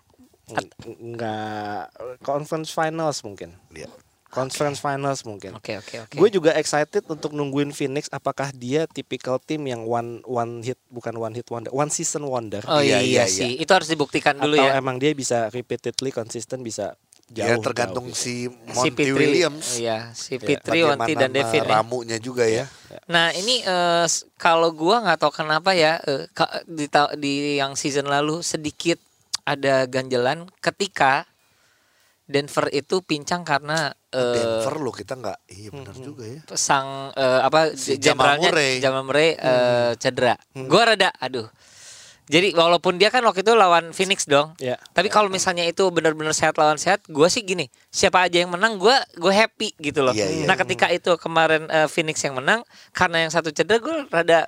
[SPEAKER 1] N- Nggak conference finals mungkin.
[SPEAKER 3] Iya.
[SPEAKER 1] Conference finals mungkin.
[SPEAKER 2] Oke, oke, oke.
[SPEAKER 1] Gue juga excited untuk nungguin Phoenix apakah dia tipikal tim yang one one hit bukan one hit wonder, one season wonder.
[SPEAKER 2] Oh iya,
[SPEAKER 3] Iya, iya,
[SPEAKER 2] sih. Itu harus dibuktikan
[SPEAKER 1] atau
[SPEAKER 2] dulu ya. Iya,
[SPEAKER 1] emang dia bisa repeatedly konsisten bisa jauh. gitu.
[SPEAKER 3] ya tergantung
[SPEAKER 1] jauh.
[SPEAKER 3] si
[SPEAKER 2] si
[SPEAKER 3] Monty
[SPEAKER 2] Pitri
[SPEAKER 3] Williams
[SPEAKER 2] Iya, si Pitri,
[SPEAKER 3] Bagaimana
[SPEAKER 2] Wanti dan
[SPEAKER 3] sama
[SPEAKER 2] Devin. ya.
[SPEAKER 3] ramunya juga ya
[SPEAKER 2] Nah ini eh, s- kalau gua nggak tahu kenapa ya eh, ka- di, ta- di yang season lalu sedikit ada ganjelan ketika Denver itu pincang karena eh,
[SPEAKER 3] Denver loh kita nggak iya benar juga ya
[SPEAKER 2] sang eh, apa
[SPEAKER 3] Si
[SPEAKER 2] j-
[SPEAKER 3] Jamal
[SPEAKER 2] jenderalnya
[SPEAKER 3] Murray. Hmm.
[SPEAKER 2] Jamal Murray eh, cedera. Gua rada aduh. Jadi walaupun dia kan waktu itu lawan Phoenix dong.
[SPEAKER 1] Ya.
[SPEAKER 2] Tapi kalau misalnya itu benar-benar sehat lawan sehat, gua sih gini, siapa aja yang menang gua gue happy gitu loh.
[SPEAKER 3] Iya, iya.
[SPEAKER 2] Nah, ketika itu kemarin eh, Phoenix yang menang karena yang satu cedera gue rada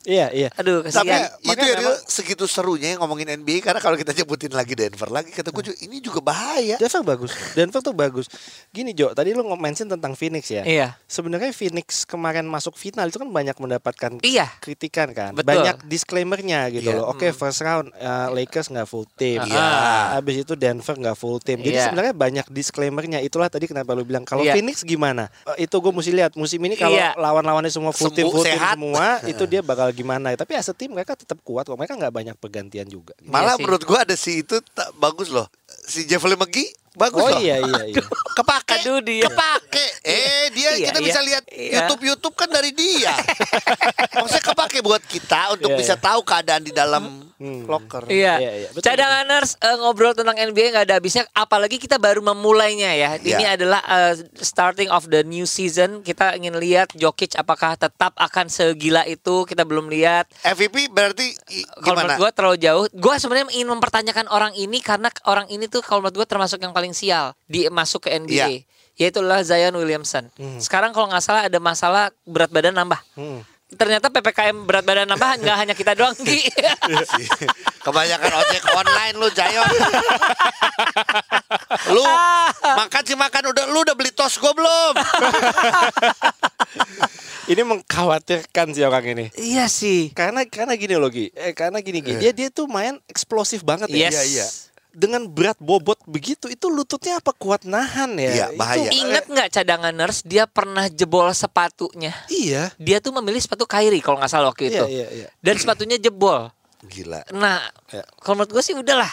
[SPEAKER 1] Iya, iya.
[SPEAKER 2] aduh
[SPEAKER 3] Tapi
[SPEAKER 2] kasihan.
[SPEAKER 3] itu ya Rio, segitu serunya yang ngomongin NBA karena kalau kita nyebutin lagi Denver lagi kata
[SPEAKER 2] Nah.
[SPEAKER 3] gue juga ini juga bahaya.
[SPEAKER 1] Denver bagus. Denver tuh bagus. Gini Jo, tadi lu nge-mention tentang Phoenix ya.
[SPEAKER 2] Iya.
[SPEAKER 1] Sebenarnya Phoenix kemarin masuk final itu kan banyak mendapatkan
[SPEAKER 2] Iya.
[SPEAKER 1] kritikan kan.
[SPEAKER 2] Betul. Hmm.
[SPEAKER 1] Banyak disclaimernya gitu
[SPEAKER 3] Iya.
[SPEAKER 1] loh. Oke, first round eh, Lakers nggak full team. Ya.
[SPEAKER 3] Iya.
[SPEAKER 1] Habis itu Denver nggak full team. Jadi
[SPEAKER 2] Ah. Iya.
[SPEAKER 1] sebenarnya banyak disclaimernya. Itulah tadi kenapa lu bilang kalau
[SPEAKER 2] Iya.
[SPEAKER 1] Phoenix gimana? Eh, itu gue mesti lihat musim ini kalau
[SPEAKER 2] Iya.
[SPEAKER 1] lawan-lawannya semua full
[SPEAKER 3] Semu-
[SPEAKER 1] team full team
[SPEAKER 3] sehat.
[SPEAKER 1] semua itu dia bakal gimana. Tapi as a team mereka tetap kuat kok. Mereka nggak banyak pergantian juga. gitu.
[SPEAKER 2] Iya
[SPEAKER 3] Malah
[SPEAKER 2] sih.
[SPEAKER 3] menurut gue ada si itu tak bagus loh. Si Javelin McGee bagus
[SPEAKER 1] Oh
[SPEAKER 3] loh.
[SPEAKER 1] iya iya iya.
[SPEAKER 3] Kepake.
[SPEAKER 2] Aduh, dia.
[SPEAKER 3] Kepake. Eh dia
[SPEAKER 2] Iya,
[SPEAKER 3] kita
[SPEAKER 2] iya.
[SPEAKER 3] bisa lihat
[SPEAKER 2] Iya.
[SPEAKER 3] YouTube YouTube kan dari dia. Maksudnya kepake buat kita untuk
[SPEAKER 1] Iya,
[SPEAKER 3] bisa
[SPEAKER 1] iya.
[SPEAKER 3] tahu keadaan di dalam
[SPEAKER 1] Hmm.
[SPEAKER 3] locker.
[SPEAKER 2] Iya.
[SPEAKER 1] Iya, iya, betul,
[SPEAKER 2] Cadanganers eh, ngobrol tentang NBA nggak ada habisnya. Apalagi kita baru memulainya ya. Ini
[SPEAKER 3] Iya.
[SPEAKER 2] adalah eh, starting of the new season. Kita ingin lihat Jokic apakah tetap akan segila itu. Kita belum lihat.
[SPEAKER 3] MVP berarti i-
[SPEAKER 2] Kalau
[SPEAKER 3] gimana?
[SPEAKER 2] menurut gue terlalu jauh. Gue sebenarnya ingin mempertanyakan orang ini karena orang ini tuh kalau menurut gue termasuk yang paling sial di masuk ke NBA. Yaitulah Zion Williamson. Sekarang kalau nggak salah ada masalah berat badan nambah. Ternyata ppkm berat badan nambah nggak hanya kita doang Ki.
[SPEAKER 3] Kebanyakan ojek online lu Jayon. lu
[SPEAKER 2] Ah.
[SPEAKER 3] makan sih makan udah lu udah beli tos gue belum?
[SPEAKER 1] Ini mengkhawatirkan sih orang ini.
[SPEAKER 2] Iya sih.
[SPEAKER 1] Karena karena gini loh Gi. Eh, karena gini Gi. Dia dia tuh main eksplosif banget ya.
[SPEAKER 2] Yes.
[SPEAKER 3] Iya, iya.
[SPEAKER 1] Dengan berat bobot begitu itu lututnya apa kuat nahan ya?
[SPEAKER 3] Iya, bahaya.
[SPEAKER 1] Itu-
[SPEAKER 2] Ingat nggak cadangan nurse dia pernah jebol sepatunya.
[SPEAKER 1] Iya.
[SPEAKER 2] Dia tuh memilih sepatu Kyrie kalau nggak salah waktu itu.
[SPEAKER 1] Iya, iya, iya.
[SPEAKER 2] Dan sepatunya jebol.
[SPEAKER 3] Gila.
[SPEAKER 2] Nah, kalau menurut gue sih udahlah.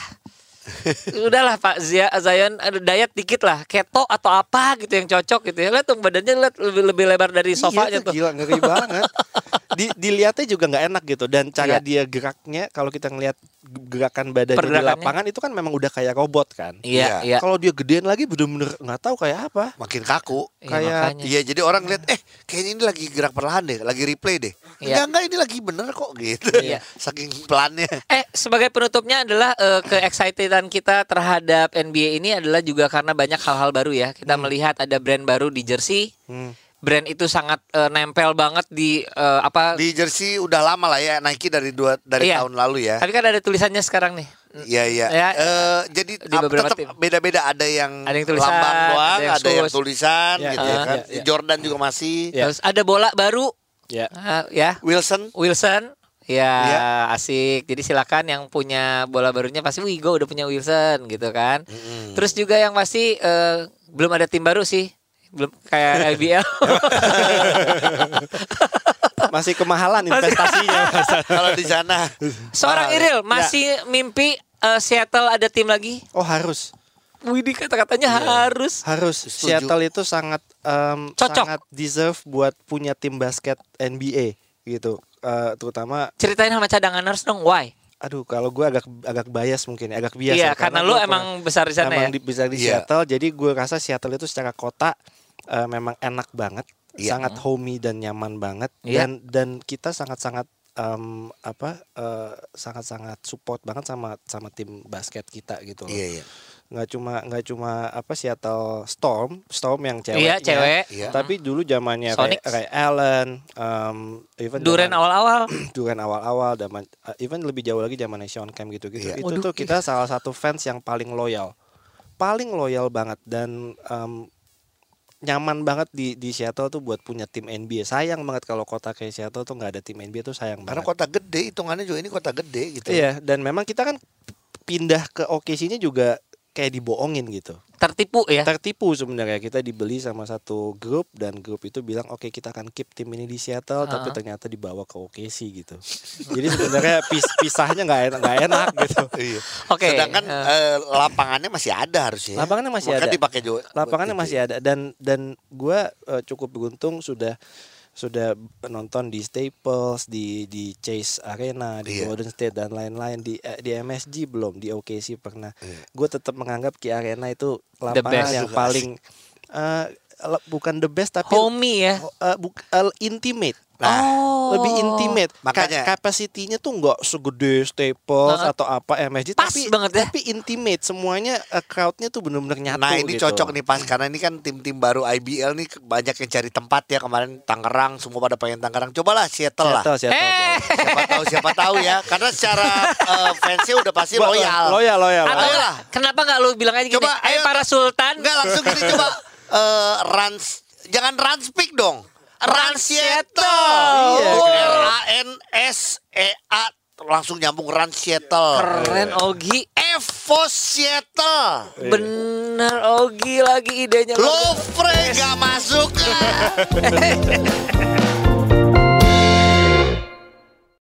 [SPEAKER 2] udahlah Pak Zia- Zion aduh, diet dikit lah keto atau apa gitu yang cocok gitu ya lihat tuh badannya lihat lebih, lebih lebar dari
[SPEAKER 1] Iya
[SPEAKER 2] sofanya
[SPEAKER 1] tuh
[SPEAKER 2] tuh
[SPEAKER 1] gila ngeri banget. Di, dilihatnya juga nggak enak gitu dan cara
[SPEAKER 2] Iya.
[SPEAKER 1] dia geraknya kalau kita ngelihat gerakan badannya di
[SPEAKER 2] Pergerakannya.
[SPEAKER 1] lapangan itu kan memang udah kayak robot kan.
[SPEAKER 2] iya iya
[SPEAKER 1] Kalau dia gedean lagi bener-bener nggak tahu kayak apa.
[SPEAKER 3] Makin kaku.
[SPEAKER 2] Iya,
[SPEAKER 1] kayak-
[SPEAKER 2] makanya.
[SPEAKER 3] Iya jadi orang lihat eh kayaknya ini lagi gerak perlahan deh, lagi replay deh. Enggak
[SPEAKER 2] Iya.
[SPEAKER 3] enggak ini lagi bener kok gitu.
[SPEAKER 2] Iya.
[SPEAKER 3] Saking pelannya.
[SPEAKER 2] Eh, sebagai penutupnya adalah eh, ke-excitedan kita terhadap NBA ini adalah juga karena banyak hal-hal baru ya. Kita
[SPEAKER 1] Hmm.
[SPEAKER 2] melihat ada brand baru di jersey. Brand itu sangat eh, nempel banget di eh,
[SPEAKER 1] Iya.
[SPEAKER 2] apa?
[SPEAKER 3] Di jersey udah lama lah ya Nike dari dua dari
[SPEAKER 2] Iya.
[SPEAKER 3] tahun lalu ya.
[SPEAKER 2] Tapi kan ada tulisannya sekarang nih.
[SPEAKER 3] Iya iya.
[SPEAKER 2] Ya.
[SPEAKER 3] Eh, jadi
[SPEAKER 2] Di
[SPEAKER 3] ap-
[SPEAKER 2] beberapa
[SPEAKER 3] tetap
[SPEAKER 2] tim.
[SPEAKER 3] beda-beda ada yang,
[SPEAKER 2] Ada yang tulisan,
[SPEAKER 3] lambang doang,
[SPEAKER 2] ada
[SPEAKER 3] ada
[SPEAKER 2] yang
[SPEAKER 3] yang,
[SPEAKER 2] sus. Ah,
[SPEAKER 3] tulisan
[SPEAKER 1] Iya,
[SPEAKER 3] gitu
[SPEAKER 1] iya,
[SPEAKER 3] ya kan.
[SPEAKER 1] iya, iya.
[SPEAKER 3] Jordan juga masih.
[SPEAKER 1] Iya.
[SPEAKER 2] Terus ada bola baru
[SPEAKER 1] Ya.
[SPEAKER 2] Ah, ya.
[SPEAKER 3] Wilson
[SPEAKER 2] Wilson Ya,
[SPEAKER 3] Iya.
[SPEAKER 2] asik. Jadi silakan yang punya bola barunya pasti wih gue udah punya Wilson gitu kan. Terus juga yang pasti eh, belum ada tim baru sih. Belum kayak IBL.
[SPEAKER 1] Masih kemahalan investasinya. Mas.
[SPEAKER 3] kalau di sana.
[SPEAKER 2] Seorang
[SPEAKER 3] Mahal.
[SPEAKER 2] Iril masih mimpi eh, Seattle ada tim lagi.
[SPEAKER 1] Oh harus.
[SPEAKER 2] Widih kata-katanya harus.
[SPEAKER 1] harus
[SPEAKER 3] Setuju.
[SPEAKER 1] Seattle itu sangat em,
[SPEAKER 2] Cocok.
[SPEAKER 1] sangat deserve buat punya tim basket NBA gitu Eh, terutama
[SPEAKER 2] Ceritain sama cadanganers dong, why?
[SPEAKER 1] aduh kalau gue agak agak bias mungkin agak bias ya,
[SPEAKER 2] Iya, karena lu
[SPEAKER 1] gua
[SPEAKER 2] emang
[SPEAKER 1] pernah-
[SPEAKER 2] besar di sana
[SPEAKER 1] emang
[SPEAKER 2] ya?
[SPEAKER 1] di, besar di
[SPEAKER 3] Iya.
[SPEAKER 1] Seattle jadi gue rasa Seattle itu secara kota eh, memang enak banget
[SPEAKER 3] Iya.
[SPEAKER 1] sangat homey dan nyaman banget dan
[SPEAKER 2] Iya.
[SPEAKER 1] dan kita sangat sangat em, apa eh, sangat sangat support banget sama sama tim basket kita gitu loh.
[SPEAKER 3] Iya iya.
[SPEAKER 1] nggak cuma nggak cuma apa Seattle Storm Storm yang cewek
[SPEAKER 2] Iya, cewek.
[SPEAKER 3] Iya.
[SPEAKER 1] tapi dulu zamannya Ray,
[SPEAKER 2] Sonics.
[SPEAKER 1] Ray Allen um, even
[SPEAKER 2] Duren
[SPEAKER 1] zaman-
[SPEAKER 2] awal-awal.
[SPEAKER 1] Duren awal-awal zaman uh, even lebih jauh lagi zaman Sean Camp gitu-gitu
[SPEAKER 3] Iya.
[SPEAKER 1] itu
[SPEAKER 2] Waduh,
[SPEAKER 1] tuh kita salah satu fans yang paling loyal paling loyal banget dan um, nyaman banget di di Seattle tuh buat punya tim NBA sayang banget kalau kota kayak Seattle tuh nggak ada tim NBA tuh sayang
[SPEAKER 3] Karena
[SPEAKER 1] banget
[SPEAKER 3] kota gede, hitungannya juga ini kota gede gitu.
[SPEAKER 1] iya dan memang kita kan pindah ke OKC-nya juga kayak dibohongin gitu
[SPEAKER 2] tertipu ya.
[SPEAKER 3] Eh.
[SPEAKER 1] tertipu sebenarnya kita dibeli sama satu grup dan grup itu bilang oke kita akan keep tim ini di Seattle tapi
[SPEAKER 2] Ha-ha.
[SPEAKER 1] ternyata dibawa ke OKC gitu jadi sebenarnya pis- pisahnya nggak enak nggak enak gitu
[SPEAKER 3] Iya.
[SPEAKER 2] Oke.
[SPEAKER 3] Sedangkan
[SPEAKER 2] eh,
[SPEAKER 3] eh, lapangannya masih ada harusnya.
[SPEAKER 1] Lapangannya masih
[SPEAKER 3] Makanya
[SPEAKER 1] ada.
[SPEAKER 3] dipakai juga. Gitu.
[SPEAKER 1] lapangannya masih ada dan dan gue cukup beruntung sudah sudah nonton di Staples di di Chase Arena di
[SPEAKER 3] Iya.
[SPEAKER 1] Golden State dan lain-lain di eh, di MSG belum di OKC pernah
[SPEAKER 3] Iya.
[SPEAKER 1] gue tetap menganggap Ki Arena itu
[SPEAKER 2] best.
[SPEAKER 1] lapangan yang
[SPEAKER 3] Juga
[SPEAKER 1] paling eh, le- bukan the best tapi
[SPEAKER 2] homey ya.
[SPEAKER 1] Oh, eh, buk- eh, intimate.
[SPEAKER 3] Nah,
[SPEAKER 2] oh.
[SPEAKER 1] Lebih intimate.
[SPEAKER 3] Makanya-
[SPEAKER 1] Ka- kapasitinya tuh nggak segede Staples
[SPEAKER 2] Heeh.
[SPEAKER 1] atau apa MSG
[SPEAKER 2] Nah. Pas
[SPEAKER 1] tapi
[SPEAKER 2] banget ya.
[SPEAKER 1] tapi intimate semuanya eh, crowdnya tuh bener-bener nyatu
[SPEAKER 3] nah ini
[SPEAKER 1] gitu.
[SPEAKER 3] cocok nih pas karena ini kan tim-tim baru IBL nih banyak yang cari tempat ya kemarin Tangerang semua pada pengen Tangerang. Cobalah Seattle lah.
[SPEAKER 1] Seattle, Seattle,
[SPEAKER 2] Eh,
[SPEAKER 1] Bang.
[SPEAKER 3] Siapa tahu siapa tahu ya. Karena secara eh, fansnya udah pasti
[SPEAKER 1] Ba-
[SPEAKER 3] loyal.
[SPEAKER 1] Loyal, loyal.
[SPEAKER 2] atau
[SPEAKER 1] Bang.
[SPEAKER 3] Ayolah.
[SPEAKER 2] enggak, kenapa nggak lu bilang aja gini?
[SPEAKER 3] Coba,
[SPEAKER 2] eh
[SPEAKER 3] ayo.
[SPEAKER 2] para sultan.
[SPEAKER 3] Enggak langsung gini coba eh Rans jangan Rans speak dong. Rans Seattle.
[SPEAKER 1] Iya.
[SPEAKER 3] R A N S E A langsung nyambung Rans Seattle.
[SPEAKER 2] Keren Ogi.
[SPEAKER 3] Evo Seattle.
[SPEAKER 2] Bener oh Ogi lagi idenya.
[SPEAKER 3] Lovre gak masuk.